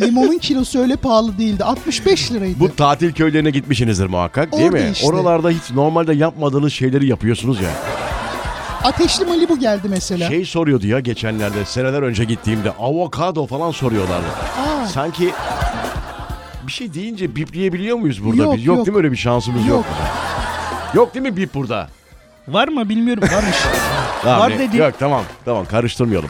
Speaker 2: Limonun kilosu öyle pahalı değildi. 65 liraydı.
Speaker 1: Bu tatil köylerine gitmişsinizdir muhakkak değil
Speaker 2: Orada
Speaker 1: mi?
Speaker 2: işte.
Speaker 1: Oralarda hiç normalde yapmadığınız şeyleri yapıyorsunuz ya.
Speaker 2: Ateşli Malibu geldi mesela.
Speaker 1: Şey soruyordu ya geçenlerde seneler önce gittiğimde avokado falan soruyorlardı.
Speaker 2: Aa.
Speaker 1: Sanki bir şey deyince bipleyebiliyor muyuz burada?
Speaker 2: Yok,
Speaker 1: biz? yok,
Speaker 2: yok.
Speaker 1: değil mi öyle bir şansımız yok.
Speaker 2: Yok.
Speaker 1: Yok değil mi bip burada?
Speaker 3: Var mı bilmiyorum. Varmış.
Speaker 1: Tamam,
Speaker 3: Var
Speaker 1: ne-
Speaker 3: dedi.
Speaker 1: Yok tamam tamam karıştırmayalım.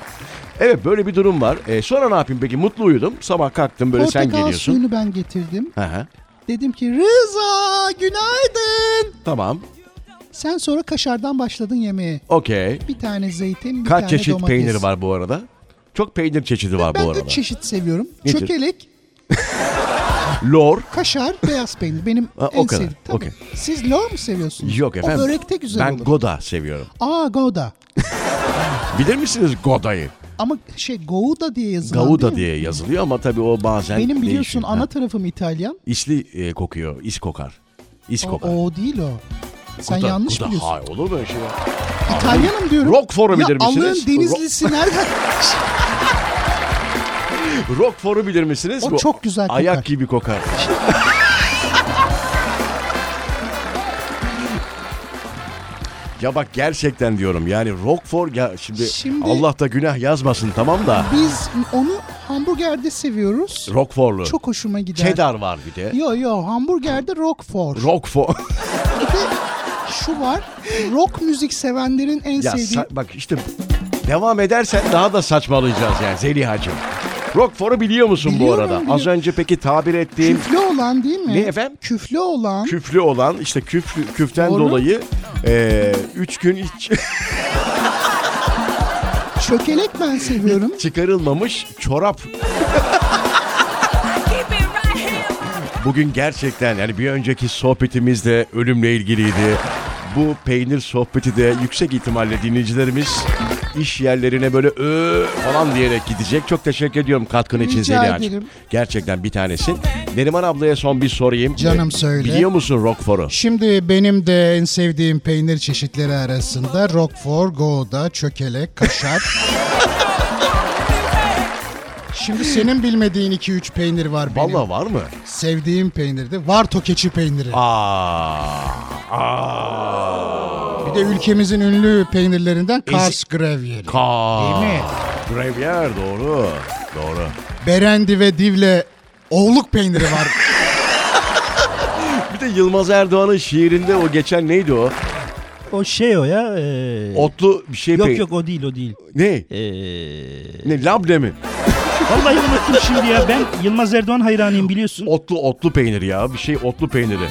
Speaker 1: Evet böyle bir durum var. E, sonra ne yapayım peki? Mutlu uyudum. Sabah kalktım böyle sen
Speaker 2: Portakal
Speaker 1: geliyorsun.
Speaker 2: suyunu ben getirdim.
Speaker 1: Hı hı.
Speaker 2: Dedim ki Rıza günaydın.
Speaker 1: Tamam.
Speaker 2: Sen sonra kaşardan başladın yemeğe.
Speaker 1: Okey.
Speaker 2: Bir tane zeytin, bir
Speaker 1: Kaç
Speaker 2: tane
Speaker 1: çeşit
Speaker 2: domates.
Speaker 1: peynir var bu arada? Çok peynir çeşidi var bu
Speaker 2: Ben
Speaker 1: arada.
Speaker 2: üç çeşit seviyorum.
Speaker 1: Nedir?
Speaker 2: Çökelek,
Speaker 1: Lor.
Speaker 2: kaşar, beyaz peynir. Benim
Speaker 1: Ha, o
Speaker 2: en
Speaker 1: kadar.
Speaker 2: sevdiğim. Tabii.
Speaker 1: Okey.
Speaker 2: Siz lor mu seviyorsunuz?
Speaker 1: Yok efendim.
Speaker 2: O börekte güzel
Speaker 1: ben
Speaker 2: olur.
Speaker 1: Goda seviyorum.
Speaker 2: Aa Gouda.
Speaker 1: Bilir misiniz Goda'yı?
Speaker 2: Ama şey Gouda diye yazılan değil
Speaker 1: Gouda
Speaker 2: mi?
Speaker 1: diye yazılıyor ama tabii o bazen
Speaker 2: Benim biliyorsun
Speaker 1: değişiyor.
Speaker 2: ana
Speaker 1: Ha.
Speaker 2: tarafım İtalyan.
Speaker 1: İsli e, kokuyor. is kokar. İs
Speaker 2: O,
Speaker 1: kokar.
Speaker 2: o değil o. Sen
Speaker 1: Goda-
Speaker 2: yanlış
Speaker 1: Goda-
Speaker 2: biliyorsun.
Speaker 1: Hayır, olur mu öyle şey? ya?
Speaker 2: İtalyanım diyorum.
Speaker 1: Roquefort'u
Speaker 2: ya
Speaker 1: bilir misiniz?
Speaker 2: Allah'ın denizlisi nereden?
Speaker 1: Roquefort'u bilir misiniz?
Speaker 2: O
Speaker 1: Bu
Speaker 2: çok güzel kokar.
Speaker 1: Ayak gibi kokar. ya bak gerçekten diyorum yani Roquefort ya şimdi,
Speaker 2: Şimdi-
Speaker 1: Allah da günah yazmasın tamam da
Speaker 2: Biz onu hamburgerde seviyoruz.
Speaker 1: Roquefort'lu.
Speaker 2: Çok hoşuma gider.
Speaker 1: Cheddar var bir de.
Speaker 2: Yo yo hamburgerde Roquefort.
Speaker 1: Roquefort.
Speaker 2: Bir de şu var. Rock müzik sevenlerin en
Speaker 1: Ya
Speaker 2: sevdiği.
Speaker 1: sa- bak işte devam edersen daha da saçmalayacağız yani Zeliha'cığım. Rockfor'u biliyor musun
Speaker 2: Biliyorum,
Speaker 1: bu arada? Az
Speaker 2: biliyorum.
Speaker 1: önce peki tabir ettiğim
Speaker 2: Küflü olan değil mi?
Speaker 1: Ne efendim?
Speaker 2: Küflü olan.
Speaker 1: küflü olan işte küf, küften
Speaker 2: Doğru.
Speaker 1: dolayı eee üç gün hiç
Speaker 2: Çökelek ben seviyorum.
Speaker 1: çıkarılmamış çorap Bugün gerçekten yani bir önceki sohbetimiz de ölümle ilgiliydi. Bu peynir sohbeti de yüksek ihtimalle dinleyicilerimiz iş yerlerine böyle ö falan diyerek gidecek. Çok teşekkür ediyorum katkın için
Speaker 4: Rica
Speaker 1: Zeliha'cığım.
Speaker 4: ederim.
Speaker 1: Gerçekten bir tanesin. Neriman ablaya son bir sorayım.
Speaker 2: Canım söyle.
Speaker 1: Biliyor musun Roquefort'u?
Speaker 2: Şimdi benim de en sevdiğim peynir çeşitleri arasında Roquefort, Gouda, çökelek, kaşar. Şimdi senin bilmediğin 2-3 peynir var benim.
Speaker 1: Vallahi var mı?
Speaker 2: Sevdiğim peynir de Varto keçi peyniri.
Speaker 1: Aa. Aa.
Speaker 2: Bir de ülkemizin ünlü peynirlerinden Kars Gravyeri.
Speaker 1: Ka.
Speaker 2: Değil mi?
Speaker 1: Gravyer doğru. Doğru.
Speaker 2: Berendi ve Divle oğluk peyniri var.
Speaker 1: Bir de Yılmaz Erdoğan'ın şiirinde o geçen neydi o?
Speaker 3: O şey o ya. ee,
Speaker 1: Otlu bir şey
Speaker 3: yok
Speaker 1: peyn-
Speaker 3: yok o değil o değil.
Speaker 1: Ne?
Speaker 3: Ee,
Speaker 1: Ne labne mi?
Speaker 3: vallahi unuttum şimdi ya. Ben Yılmaz Erdoğan hayranıyım biliyorsun.
Speaker 1: Otlu otlu peynir ya. Bir şey otlu peyniri.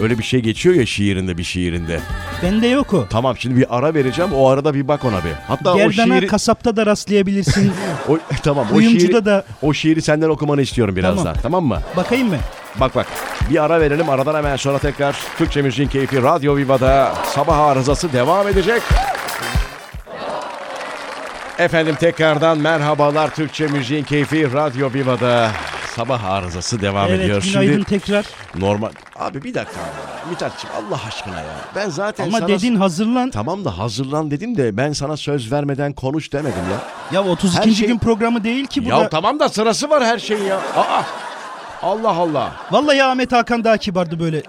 Speaker 1: Öyle bir şey geçiyor ya şiirinde bir şiirinde.
Speaker 3: Bende yok o.
Speaker 1: Tamam şimdi bir ara vereceğim. O arada bir bak ona bir. Hatta o
Speaker 3: Gerdana
Speaker 1: şiiri...
Speaker 3: kasapta da rastlayabilirsin.
Speaker 1: o, tamam o
Speaker 3: Kuyumcuda
Speaker 1: şiiri,
Speaker 3: da-
Speaker 1: o şiiri senden okumanı istiyorum birazdan.
Speaker 3: Tamam.
Speaker 1: tamam mı?
Speaker 3: Bakayım mı?
Speaker 1: Bak bak bir ara verelim aradan hemen sonra tekrar Türkçe Müziğin Keyfi Radyo Viva'da sabah arızası devam edecek. Efendim tekrardan merhabalar Türkçe Müziğin Keyfi Radyo Viva'da sabah arızası devam ediyor.
Speaker 3: evet günaydın
Speaker 1: Şimdi
Speaker 3: tekrar.
Speaker 1: normal abi bir dakika Mithatçım Allah aşkına ya ben zaten
Speaker 3: Ama
Speaker 1: sana...
Speaker 3: dedin hazırlan.
Speaker 1: Tamam da hazırlan dedim de ben sana söz vermeden konuş demedim ya.
Speaker 3: Ya 32.
Speaker 1: Her şey-
Speaker 3: gün programı değil ki bu
Speaker 1: Ya
Speaker 3: da.
Speaker 1: tamam da sırası var her şeyin ya. Aa, Allah Allah.
Speaker 3: Vallahi Ahmet Hakan daha kibardı böyle.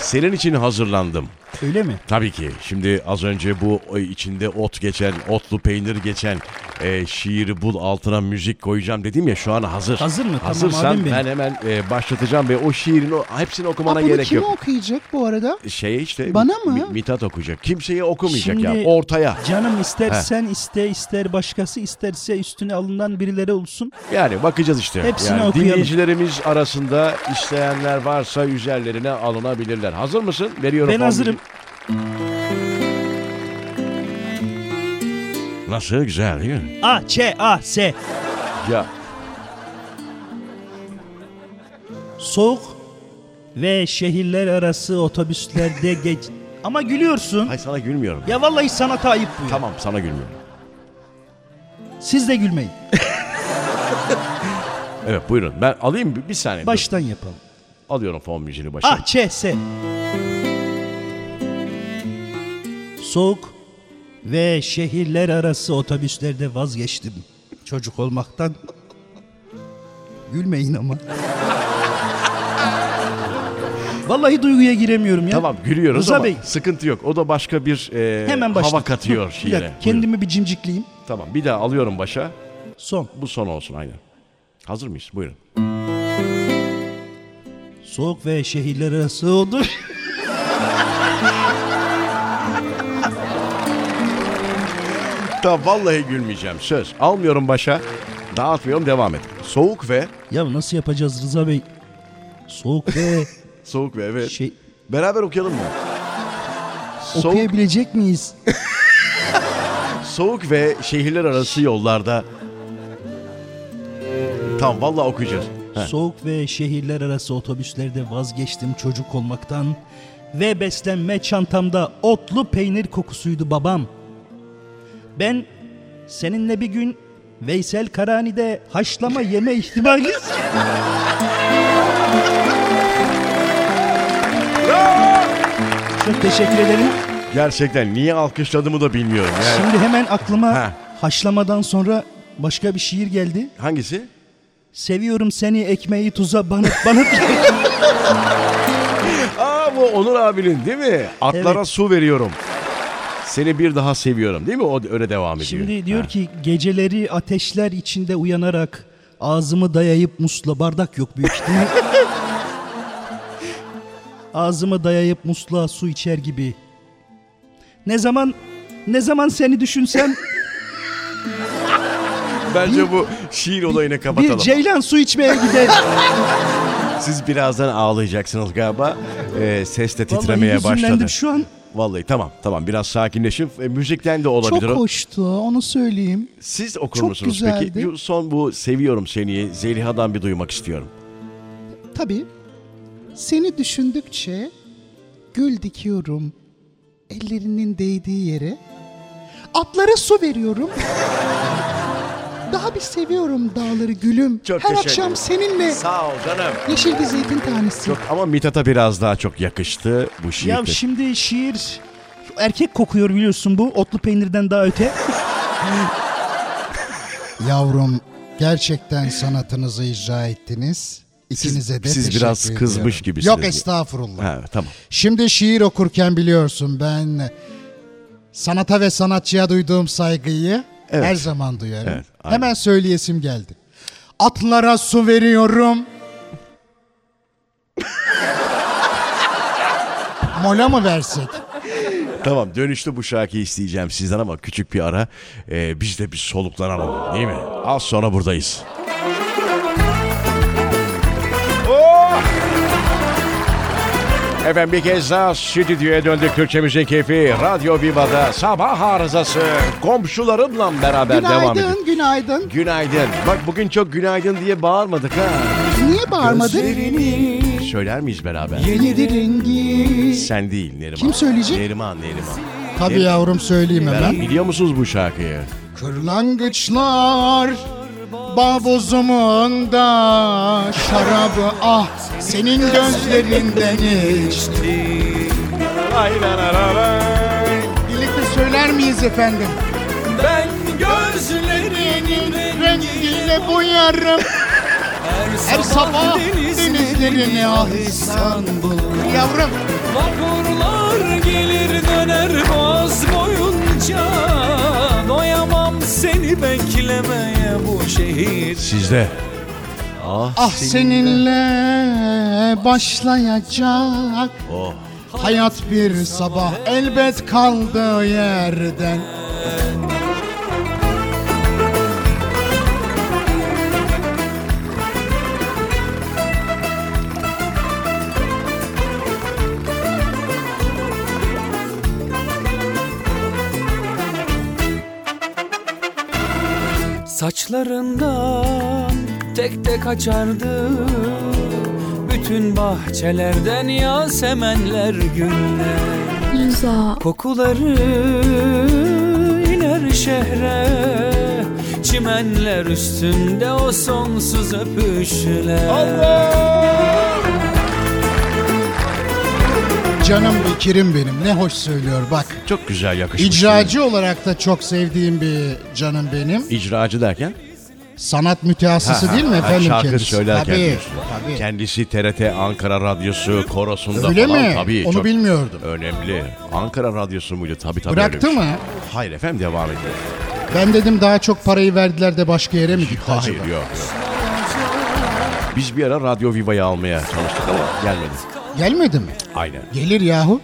Speaker 1: Senin için hazırlandım.
Speaker 3: Öyle mi?
Speaker 1: Tabii ki. Şimdi az önce bu e, içinde ot geçen, otlu peynir geçen e, şiiri bul altına müzik koyacağım dedim ya şu an hazır.
Speaker 3: Hazır mı? Tamam,
Speaker 1: Hazırsan
Speaker 3: abim benim.
Speaker 1: ben hemen e, başlatacağım ve o şiirin o, hepsini okumana
Speaker 4: Aa, bunu
Speaker 1: gerek
Speaker 4: kim
Speaker 1: yok.
Speaker 4: okuyacak bu arada?
Speaker 1: Şey işte
Speaker 4: Bana
Speaker 1: Mi-
Speaker 4: mı?
Speaker 1: Mi- Mithat okuyacak. Kimseye okumayacak
Speaker 3: Şimdi-
Speaker 1: ya. Ortaya.
Speaker 3: Canım istersen iste ister başkası isterse üstüne alınan birileri olsun.
Speaker 1: Yani bakacağız işte.
Speaker 3: Hepsini
Speaker 1: yani
Speaker 3: okuyalım.
Speaker 1: Dinleyicilerimiz arasında isteyenler varsa üzerlerine alınabilirler. Hazır mısın? Veriyorum.
Speaker 3: Ben
Speaker 1: on
Speaker 3: hazırım.
Speaker 1: bin- Nasıl? Güzel değil mi?
Speaker 3: A, Ç, A, S.
Speaker 1: Ya
Speaker 3: Soğuk ve şehirler arası otobüslerde geç... Ama gülüyorsun.
Speaker 1: Ay sana gülmüyorum.
Speaker 3: Ya vallahi sanata ayıp bu. ya.
Speaker 1: Tamam sana gülmüyorum.
Speaker 3: Siz de gülmeyin.
Speaker 1: Evet buyurun. Ben alayım bir, bir saniye. Dur.
Speaker 3: Baştan yapalım.
Speaker 1: Alıyorum fon müziğini başa.
Speaker 3: Ah Ç, S. Soğuk ve şehirler arası otobüslerde vazgeçtim. Çocuk olmaktan. Gülmeyin ama. Vallahi duyguya giremiyorum ya.
Speaker 1: Tamam gülüyoruz
Speaker 3: Rıza
Speaker 1: ama
Speaker 3: Bey.
Speaker 1: sıkıntı yok. O da başka bir e,
Speaker 3: Hemen başla.
Speaker 1: hava katıyor
Speaker 3: Bir
Speaker 1: şiire.
Speaker 3: dakika, kendimi bir cimcikleyeyim.
Speaker 1: Buyurun. Tamam bir daha alıyorum başa.
Speaker 3: Son.
Speaker 1: Bu son olsun aynen. Hazır mıyız? Buyurun.
Speaker 3: Soğuk ve şehirler arası olur.
Speaker 1: Tamam vallahi gülmeyeceğim söz. Almıyorum başa. Dağıtmıyorum devam et. Soğuk ve
Speaker 3: ya nasıl yapacağız Rıza Bey? Soğuk ve
Speaker 1: soğuk ve evet.
Speaker 3: şey
Speaker 1: Beraber okuyalım mı? Soğuk,
Speaker 3: okuyabilecek miyiz?
Speaker 1: soğuk ve şehirler arası yollarda. Tamam vallahi okuyacağız. Heh.
Speaker 3: Soğuk ve şehirler arası otobüslerde vazgeçtim çocuk olmaktan ve beslenme çantamda otlu peynir kokusuydu babam. Ben seninle bir gün Veysel Karani'de haşlama yeme ihtimali Çok teşekkür ederim.
Speaker 1: Gerçekten niye alkışladığımı da bilmiyorum. Yani
Speaker 3: Şimdi hemen aklıma
Speaker 1: Ha.
Speaker 3: haşlamadan sonra başka bir şiir geldi.
Speaker 1: hangisi?
Speaker 3: Seviyorum seni ekmeği tuza banıp banıp.
Speaker 1: Aa bu Onur abinin değil mi? Atlara
Speaker 3: Evet.
Speaker 1: su veriyorum. Seni bir daha seviyorum değil mi? O öyle devam ediyor.
Speaker 3: Şimdi diyor ki geceleri ateşler içinde uyanarak ağzımı dayayıp musla bardak yok büyük ihtimal. ağzımı dayayıp musluğa su içer gibi. Ne zaman ne zaman seni düşünsem
Speaker 1: Bence bu şiir olayını
Speaker 3: bir
Speaker 1: kapatalım.
Speaker 3: ceylan su içmeye gider.
Speaker 1: Siz birazdan ağlayacaksınız galiba. Ee, ses de
Speaker 3: Vallahi
Speaker 1: titremeye
Speaker 3: hüzünlendim
Speaker 1: başladı.
Speaker 3: şu an.
Speaker 1: Vallahi tamam tamam biraz sakinleşin. E, müzikten de
Speaker 4: Çok
Speaker 1: olabilir. o.
Speaker 4: hoştu onu söyleyeyim.
Speaker 1: Siz okur
Speaker 4: Çok
Speaker 1: musunuz
Speaker 4: güzeldi.
Speaker 1: peki? Bir Son bu seviyorum seni Zeliha'dan bir duymak istiyorum.
Speaker 4: Tabii. Seni düşündükçe gül dikiyorum. Ellerinin değdiği yere. Atlara su veriyorum. Daha bir seviyorum dağları gülüm.
Speaker 1: Çok
Speaker 4: Her
Speaker 1: teşekkür
Speaker 4: akşam
Speaker 1: ederim.
Speaker 4: seninle
Speaker 1: Sağ ol canım.
Speaker 4: yeşil bir zeytin tanesi.
Speaker 1: Çok ama Mithat'a biraz daha çok yakıştı bu şiir.
Speaker 3: Ya şimdi şiir erkek kokuyor biliyorsun bu. Otlu peynirden daha öte.
Speaker 2: Yavrum gerçekten sanatınızı icra ettiniz. İkinize de
Speaker 1: siz
Speaker 2: teşekkür
Speaker 1: biraz
Speaker 2: ediyorum.
Speaker 1: kızmış gibisiniz.
Speaker 2: Yok estağfurullah.
Speaker 1: Ha, tamam.
Speaker 2: Şimdi şiir okurken biliyorsun ben sanata ve sanatçıya duyduğum saygıyı
Speaker 1: Evet.
Speaker 2: her zaman duyarım.
Speaker 1: Evet, aynen.
Speaker 2: Hemen söyleyesim geldi. Atlara su veriyorum. Mola mı versek?
Speaker 1: Tamam dönüşte bu şarkıyı isteyeceğim sizden ama küçük bir ara. Ee, biz de bir soluklanalım değil mi? Az sonra buradayız. Oh! Efendim bir kez daha stüdyoya döndük Türkçemizin keyfi Radyo Viva'da sabah arızası komşularımla beraber devam ediyor.
Speaker 4: Günaydın, günaydın.
Speaker 1: Günaydın. Bak bugün çok günaydın diye bağırmadık ha.
Speaker 4: Niye bağırmadın?
Speaker 1: Söyler miyiz beraber?
Speaker 4: Yedi rengi.
Speaker 1: Sen değil Neriman.
Speaker 4: Kim söyleyecek?
Speaker 1: Neriman, Neriman.
Speaker 2: Tabii yavrum söyleyeyim hemen.
Speaker 1: Beraber biliyor musunuz bu şarkıyı?
Speaker 2: Kırlangıçlar Babozumun da şarabı ah senin gözlerinden içti. Birlikte söyler miyiz efendim?
Speaker 7: Ben gözlerinin
Speaker 2: Rengiyle boyarım her sabah denizlerini ah İstanbul. Yavrum
Speaker 7: Vapurlar gelir döner boğaz boyunca Doyamam seni beklemeye bu şehir
Speaker 1: Sizde.
Speaker 2: ah seninle başlayacak
Speaker 1: Oh.
Speaker 2: hayat bir sabah elbet kaldığı yerden.
Speaker 7: Saçlarından tek tek açardı Bütün bahçelerden yasemenler güller
Speaker 8: Rıza,
Speaker 7: Kokuları iner şehre Çimenler üstünde o sonsuz öpüşler
Speaker 2: Canım Bekir'im benim ne hoş söylüyor bak.
Speaker 1: Çok güzel yakışmış.
Speaker 2: İcracı olarak da çok sevdiğim bir canım benim.
Speaker 1: İcracı derken?
Speaker 2: Sanat mütehassısı değil mi
Speaker 1: Ha,
Speaker 2: efendim
Speaker 1: şarkı
Speaker 2: kendisi?
Speaker 1: söylerken
Speaker 2: tabii,
Speaker 1: diyorsun.
Speaker 2: tabii.
Speaker 1: Kendisi TRT Ankara Radyosu korosunda
Speaker 2: Öyle
Speaker 1: falan
Speaker 2: mi?
Speaker 1: tabii.
Speaker 2: Onu
Speaker 1: çok
Speaker 2: bilmiyordum.
Speaker 1: Önemli. Ankara Radyosu muydu? Tabii tabii. öyle
Speaker 2: Bıraktı
Speaker 1: bir şey.
Speaker 2: mı?
Speaker 1: Hayır efendim devam ediyor.
Speaker 2: Ben dedim daha çok parayı verdiler de başka yere mi gitti
Speaker 1: Hayır
Speaker 2: acaba?
Speaker 1: yok. yok. Biz bir ara Radyo Viva'yı almaya çalıştık ama gelmedi.
Speaker 2: Gelmedi mi?
Speaker 1: Aynen.
Speaker 2: Gelir yahu.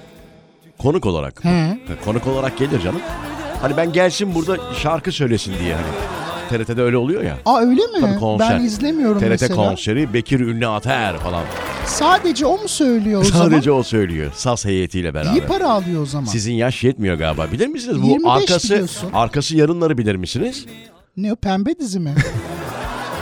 Speaker 1: Konuk olarak.
Speaker 2: He.
Speaker 1: Konuk olarak gelir canım. Hani ben gelsin burada şarkı söylesin diye hani. TRT'de öyle oluyor ya.
Speaker 4: Aa öyle mi?
Speaker 1: Tabii konser.
Speaker 4: Ben izlemiyorum
Speaker 1: TRT
Speaker 4: mesela.
Speaker 1: konseri Bekir Ünlü Ater falan.
Speaker 4: Sadece o mu söylüyor o
Speaker 1: Sadece
Speaker 4: zaman?
Speaker 1: o söylüyor. SAS heyetiyle beraber.
Speaker 4: İyi para alıyor o zaman.
Speaker 1: Sizin yaş yetmiyor galiba. Bilir misiniz bu
Speaker 4: 25
Speaker 1: arkası
Speaker 4: biliyorsun.
Speaker 1: arkası yarınları bilir misiniz?
Speaker 4: Ne o pembe dizi mi?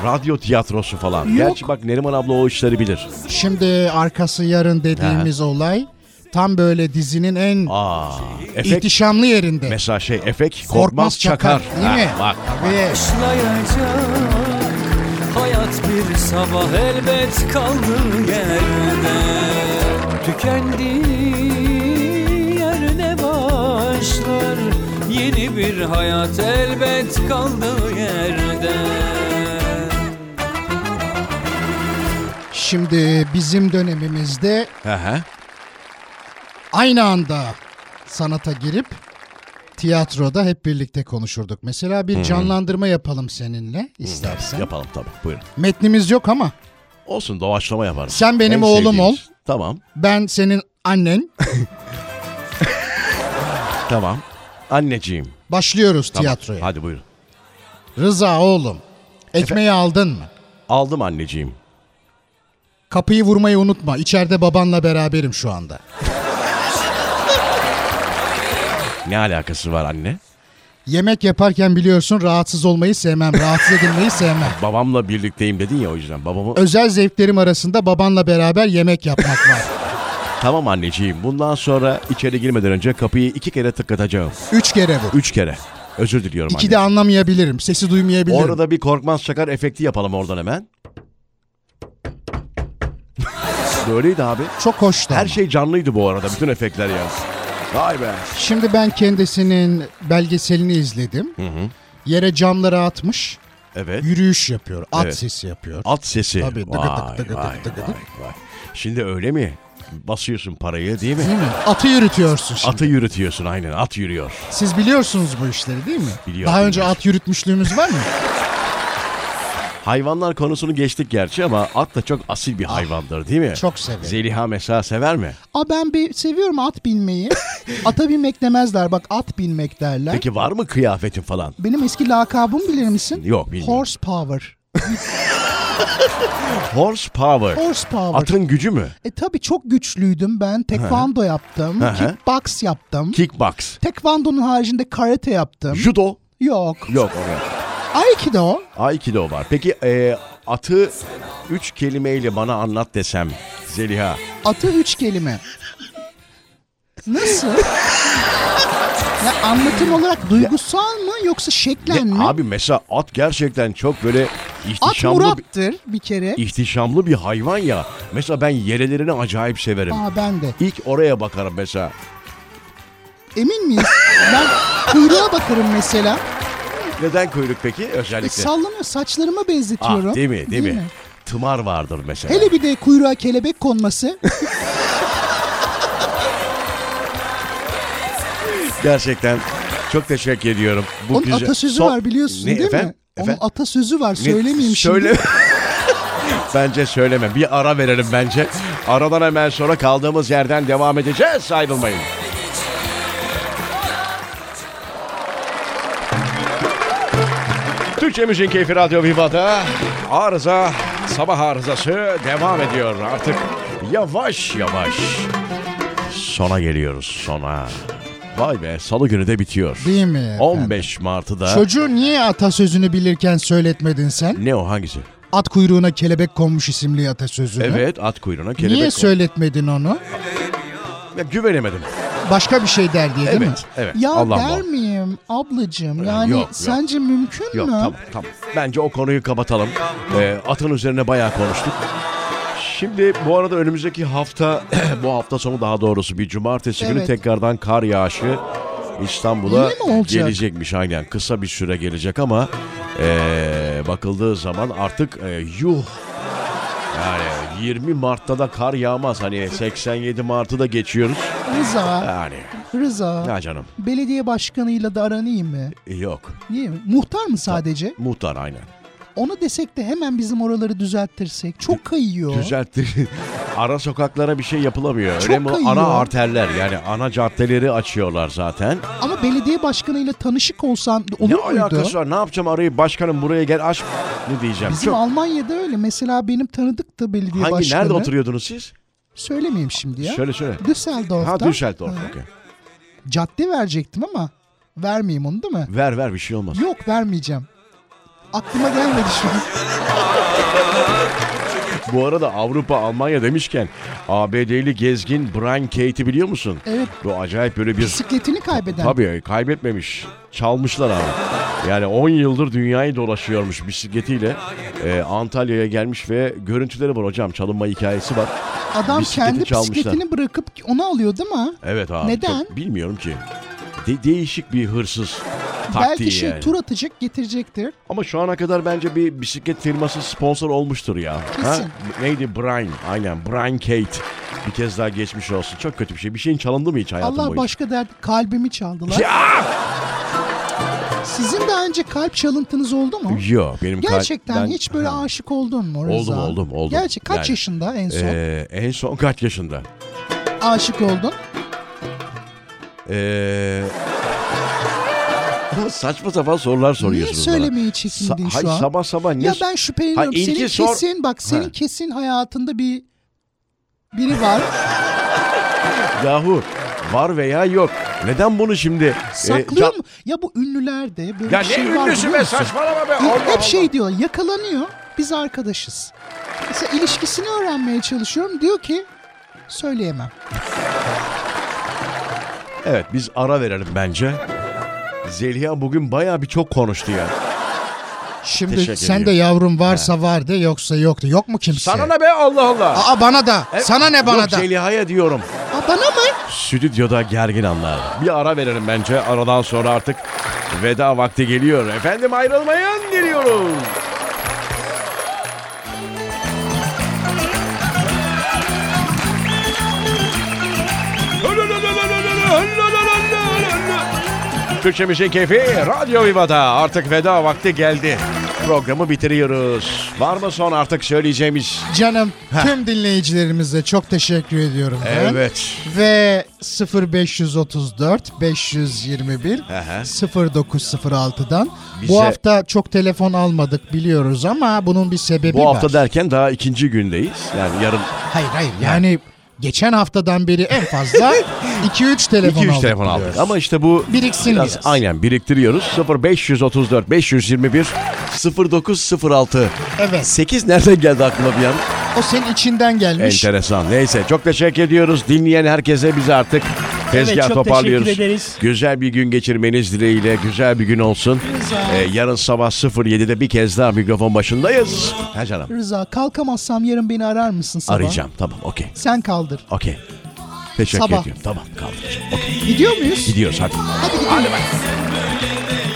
Speaker 1: Radyo tiyatrosu falan.
Speaker 4: Yok.
Speaker 1: Gerçi bak Neriman abla o işleri bilir.
Speaker 2: Şimdi arkası yarın dediğimiz olay tam böyle dizinin en
Speaker 1: Aa, efekt
Speaker 2: ihtişamlı yerinde.
Speaker 1: mesela şey efekt korkmaz, çakar.
Speaker 2: Değil mi?
Speaker 1: Ha, bak.
Speaker 2: Tabii.
Speaker 7: Başlayacak hayat bir sabah elbet kaldığı yerde Tükendiği yerine başlar Yeni bir hayat elbet kaldığı yerde
Speaker 2: Şimdi bizim dönemimizde
Speaker 1: Hı hı.
Speaker 2: aynı anda sanata girip tiyatroda hep birlikte konuşurduk. Mesela bir canlandırma yapalım seninle istersen.
Speaker 1: Yapalım tabii. Buyurun.
Speaker 2: Metnimiz yok ama
Speaker 1: Olsun doğaçlama yaparım.
Speaker 2: Sen benim oğlum
Speaker 1: sevdiğimiz. Tamam.
Speaker 2: ben senin annen
Speaker 1: Tamam. Anneciğim.
Speaker 2: başlıyoruz
Speaker 1: Tamam.
Speaker 2: tiyatroya.
Speaker 1: Hadi buyurun.
Speaker 2: Rıza oğlum ekmeği aldın mı?
Speaker 1: Aldım anneciğim.
Speaker 2: Kapıyı vurmayı unutma. İçeride babanla beraberim şu anda.
Speaker 1: Ne alakası var anne?
Speaker 2: Yemek yaparken biliyorsun rahatsız olmayı sevmem, rahatsız edilmeyi sevmem.
Speaker 1: Babamla birlikteyim dedin ya o yüzden babamı.
Speaker 2: Özel zevklerim arasında babanla beraber yemek yapmak var.
Speaker 1: Tamam anneciğim bundan sonra içeri girmeden önce kapıyı iki kere tıklatacağım.
Speaker 2: Üç kere bu.
Speaker 1: Üç kere. Özür diliyorum
Speaker 2: İki de
Speaker 1: anne.
Speaker 2: anlamayabilirim, sesi duymayabilirim.
Speaker 1: Orada bir korkmaz çakar efekti yapalım oradan hemen. Böyleydi abi.
Speaker 2: Çok hoştu
Speaker 1: Her
Speaker 2: ama.
Speaker 1: şey canlıydı bu arada. Bütün efektler ya. Vay be.
Speaker 2: Şimdi ben kendisinin belgeselini izledim. Yere camları atmış,
Speaker 1: Evet.
Speaker 2: yürüyüş yapıyor, at
Speaker 1: Evet.
Speaker 2: sesi yapıyor.
Speaker 1: At sesi.
Speaker 2: Tabii, dıgı dıgı
Speaker 1: Vay,
Speaker 2: dıgı
Speaker 1: vay,
Speaker 2: dıgı dıgı.
Speaker 1: vay, vay. Şimdi öyle mi? Basıyorsun parayı değil mi?
Speaker 2: Değil mi? Atı yürütüyorsun şimdi.
Speaker 1: Atı yürütüyorsun aynen at yürüyor.
Speaker 2: Siz biliyorsunuz bu işleri değil mi?
Speaker 1: Biliyorum,
Speaker 2: Daha önce
Speaker 1: biliyorum.
Speaker 2: at yürütmüşlüğümüz var mı?
Speaker 1: Hayvanlar konusunu geçtik gerçi ama at da çok asil bir
Speaker 4: Ah,
Speaker 1: hayvandır değil mi?
Speaker 2: çok severim.
Speaker 1: Zeliha mesela sever mi?
Speaker 4: Aa ben bir seviyorum at binmeyi. Ata binmek demezler bak at binmek derler.
Speaker 1: Peki var mı kıyafetin falan?
Speaker 4: Benim eski lakabım bilir misin?
Speaker 1: Yok, bilmiyorum.
Speaker 4: Horsepower.
Speaker 1: Horsepower.
Speaker 4: Horsepower.
Speaker 1: Atın gücü mü?
Speaker 4: E tabii çok güçlüydüm ben. Tekvando yaptım.
Speaker 1: Hı hı.
Speaker 4: Kickbox yaptım.
Speaker 1: Kickbox.
Speaker 4: Tekvando'nun haricinde karate yaptım.
Speaker 1: Judo.
Speaker 4: Yok.
Speaker 1: Yok o yok.
Speaker 4: Aikido.
Speaker 1: Aikido var. Peki e, atı üç kelimeyle bana anlat desem Zeliha.
Speaker 4: Atı üç kelime. Nasıl? ya anlatım olarak duygusal mı yoksa
Speaker 1: Ya
Speaker 4: şeklen mi?
Speaker 1: abi mesela at gerçekten çok böyle
Speaker 4: At
Speaker 1: ihtişamlı bir-
Speaker 4: Murat'tır bir kere.
Speaker 1: ihtişamlı bir hayvan ya. Mesela ben yerelerini acayip severim.
Speaker 4: Aa ben de.
Speaker 1: İlk oraya bakarım mesela.
Speaker 4: Emin miyiz? ben kuyruğa bakarım mesela.
Speaker 1: Neden kuyruk peki
Speaker 4: E,
Speaker 1: özellikle?
Speaker 4: sallanıyor saçlarıma benzetiyorum.
Speaker 1: ah, değil mi? Değil, mi? Tımar vardır mesela.
Speaker 4: Hele bir de kuyruğa kelebek konması.
Speaker 1: Gerçekten çok teşekkür ediyorum. Bu
Speaker 4: Onun
Speaker 1: güzel-
Speaker 4: atasözü
Speaker 1: Son-
Speaker 4: var biliyorsun
Speaker 1: Ne,
Speaker 4: değil
Speaker 1: efendim?
Speaker 4: mi? Onun
Speaker 1: Efendim?
Speaker 4: atasözü var
Speaker 1: Ne-
Speaker 4: söylemeyeyim
Speaker 1: Söyle.
Speaker 4: şimdi.
Speaker 1: bence söyleme. Bir ara verelim bence. Aradan hemen sonra kaldığımız yerden devam edeceğiz. Ayrılmayın. Türkçe Müziğin Keyfi Radyo Viva'da arıza, sabah arızası devam ediyor artık. Yavaş yavaş sona geliyoruz sona. Vay be salı günü de bitiyor.
Speaker 2: Değil mi efendim?
Speaker 1: 15 Mart'ı da
Speaker 2: Çocuğu niye atasözünü bilirken söyletmedin sen?
Speaker 1: ne o hangisi?
Speaker 2: At kuyruğuna kelebek konmuş isimli atasözünü.
Speaker 1: Evet at kuyruğuna kelebek
Speaker 2: Niye
Speaker 1: oldu.
Speaker 2: söyletmedin onu?
Speaker 1: Ya güvenemedim.
Speaker 2: Başka bir şey der diye değil mi?
Speaker 1: Evet, evet.
Speaker 4: Ya
Speaker 1: Allah'ım
Speaker 4: der
Speaker 1: var.
Speaker 4: miyim ablacığım? Yani
Speaker 1: yok, yok.
Speaker 4: sence mümkün
Speaker 1: Yok
Speaker 4: mü?
Speaker 1: tamam tamam. Bence o konuyu kapatalım. Ee, atın üzerine bayağı konuştuk. Şimdi bu arada önümüzdeki hafta, bu hafta sonu daha doğrusu bir cumartesi günü
Speaker 4: Evet.
Speaker 1: tekrardan kar yağışı İstanbul'a
Speaker 4: Yine mi olacak?
Speaker 1: gelecekmiş aynen. Kısa bir süre gelecek ama ee, bakıldığı zaman artık ee, yuh yani 20 Mart'ta da kar yağmaz. Hani 87 Mart'ı da geçiyoruz.
Speaker 4: Rıza,
Speaker 1: Yani
Speaker 4: Rıza.
Speaker 1: ya canım
Speaker 4: Belediye başkanıyla da aranayım mı?
Speaker 1: yok.
Speaker 4: Niye mi? Muhtar mı sadece?
Speaker 1: Muhtar aynen.
Speaker 4: Onu desek de hemen bizim oraları düzelttirsek. Çok kayıyor.
Speaker 1: Düzeltti. ara sokaklara bir şey yapılamıyor.
Speaker 4: Çok
Speaker 1: Öyle mi?
Speaker 4: kayıyor.
Speaker 1: Ana arterler yani ana caddeleri açıyorlar zaten.
Speaker 4: Ama belediye başkanıyla tanışık olsan olur
Speaker 1: ne
Speaker 4: muydu?
Speaker 1: alakası var? Ne yapacağım arayı başkanım buraya gel aç mı diyeceğim.
Speaker 4: Bizim
Speaker 1: Çok-
Speaker 4: Almanya'da öyle. Mesela benim tanıdık da belediye
Speaker 1: Hangi
Speaker 4: başkanı.
Speaker 1: nerede oturuyordunuz siz?
Speaker 4: Söylemeyeyim şimdi ya.
Speaker 1: Şöyle söyle.
Speaker 4: Düsseldorf'ta.
Speaker 1: Ha Düsseldorf.
Speaker 4: Ha.
Speaker 1: okey.
Speaker 4: Cadde verecektim ama vermeyeyim onu değil mi?
Speaker 1: Ver ver bir şey olmaz.
Speaker 4: Yok vermeyeceğim. Aklıma gelmedi şu an.
Speaker 1: Bu arada Avrupa Almanya demişken ABD'li gezgin Brian Cate'i biliyor musun?
Speaker 4: Evet.
Speaker 1: Bu acayip böyle bir
Speaker 4: Bisikletini kaybeden.
Speaker 1: Tabii kaybetmemiş. Çalmışlar abi. Yani 10 yıldır dünyayı dolaşıyormuş bisikletiyle. Ee, Antalya'ya gelmiş ve görüntüleri var hocam. Çalınma hikayesi var.
Speaker 4: Adam
Speaker 1: bisikleti
Speaker 4: kendi
Speaker 1: çalmışlar.
Speaker 4: bisikletini bırakıp onu alıyor değil mi?
Speaker 1: Evet abi.
Speaker 4: Neden?
Speaker 1: çok- bilmiyorum ki. De- değişik bir hırsız taktiği
Speaker 4: Belki şey
Speaker 1: yani.
Speaker 4: tur atacak getirecektir.
Speaker 1: Ama şu ana kadar bence bir bisiklet firması sponsor olmuştur ya.
Speaker 4: Kesin.
Speaker 1: Neydi? Brian. Aynen. Brian Kate. Bir kez daha geçmiş olsun. Çok kötü bir şey. Bir şeyin çalındı mı hiç hayatın
Speaker 4: Allah
Speaker 1: boyunca?
Speaker 4: başka derdi kalbimi çaldılar. Sizin daha önce kalp çalıntınız oldu mu?
Speaker 1: Yok. Benim kal-
Speaker 4: Gerçekten
Speaker 1: ben-
Speaker 4: hiç böyle aşık oldun mu Rıza?
Speaker 1: Oldum, oldum, oldum.
Speaker 4: Gerçi kaç
Speaker 1: Yani,
Speaker 4: yaşında en son
Speaker 1: Ee, en son kaç yaşında?
Speaker 4: aşık oldun?
Speaker 1: Ee... Ama saçma sapan sorular
Speaker 4: Niye
Speaker 1: soruyorsunuz bana.
Speaker 4: söylemeye çekindin
Speaker 1: Sa-
Speaker 4: şu
Speaker 1: Hayır,
Speaker 4: an?
Speaker 1: sabah sabah ne?
Speaker 4: Ya ben şüpheleniyorum.
Speaker 1: Ha, ilgi
Speaker 4: senin
Speaker 1: sor-
Speaker 4: kesin bak senin
Speaker 1: Ha.
Speaker 4: kesin hayatında bir biri var.
Speaker 1: Yahu var veya yok. Neden bunu şimdi? e,
Speaker 4: Saklıyor
Speaker 1: can-
Speaker 4: mu? Ya bu ünlüler de böyle
Speaker 1: Ya
Speaker 4: bir şey
Speaker 1: ne
Speaker 4: var
Speaker 1: ünlüsü
Speaker 4: biliyor
Speaker 1: be
Speaker 4: musun?
Speaker 1: saçmalama be.
Speaker 4: Hep
Speaker 1: Allah Allah.
Speaker 4: şey diyor yakalanıyor biz arkadaşız. Mesela ilişkisini öğrenmeye çalışıyorum diyor ki söyleyemem.
Speaker 1: Evet biz ara verelim bence. Zeliha bugün bayağı bir çok konuştu ya.
Speaker 2: Şimdi
Speaker 1: Teşekkür
Speaker 2: sen de
Speaker 1: ediyorum.
Speaker 2: yavrum varsa var de yoksa yok de. Yok mu kimse?
Speaker 1: Sana
Speaker 4: Şey-
Speaker 1: ne be Allah Allah.
Speaker 2: Aa bana da. Sana ne bana
Speaker 1: Yok,
Speaker 2: da.
Speaker 1: Zeliha'ya diyorum.
Speaker 4: Aa, bana mı?
Speaker 1: Stüdyoda gergin anlar. Bir ara verelim bence. Aradan sonra artık veda vakti geliyor. Efendim ayrılmayın geliyoruz. Türkçe Müzik Keyfi Radyo Viva'da artık veda vakti geldi. Programı bitiriyoruz. Var mı son artık söyleyeceğimiz?
Speaker 2: Canım tüm dinleyicilerimize çok teşekkür ediyorum ben.
Speaker 1: Evet.
Speaker 2: Ve 0534 521
Speaker 1: Aha.
Speaker 2: 0906'dan
Speaker 1: Bize-
Speaker 2: bu hafta çok telefon almadık biliyoruz ama bunun bir sebebi
Speaker 1: Bu
Speaker 2: var.
Speaker 1: hafta derken daha ikinci gündeyiz. Yani yarın
Speaker 2: Hayır hayır yani geçen haftadan beri en fazla 2-3 telefon
Speaker 1: 2-3
Speaker 2: aldık.
Speaker 1: telefon aldık.
Speaker 2: biliyoruz.
Speaker 1: Ama işte bu
Speaker 2: Biriksin
Speaker 1: biraz,
Speaker 2: biraz.
Speaker 1: aynen biriktiriyoruz. 0534 521 0906.
Speaker 2: Evet
Speaker 1: 8 nereden geldi aklıma bir an?
Speaker 2: o senin içinden gelmiş.
Speaker 1: Enteresan. Neyse çok teşekkür ediyoruz. Dinleyen herkese biz artık tezgah
Speaker 3: çok
Speaker 1: toparlıyoruz.
Speaker 3: teşekkür ederiz.
Speaker 1: Güzel bir gün geçirmeniz dileğiyle. Güzel bir gün olsun. Ee, yarın sabah 07'de bir kez daha mikrofon başındayız. Ha canım.
Speaker 4: Rıza kalkamazsam yarın beni arar mısın sabah?
Speaker 1: Arayacağım. Tamam okey.
Speaker 4: Sen kaldır.
Speaker 1: Okey. Teşekkür
Speaker 4: Sabah.
Speaker 1: ediyorum. Tamam kaldıracağım.
Speaker 4: Gidiyor muyuz?
Speaker 1: Gidiyoruz hadi.
Speaker 4: Hadi gidelim.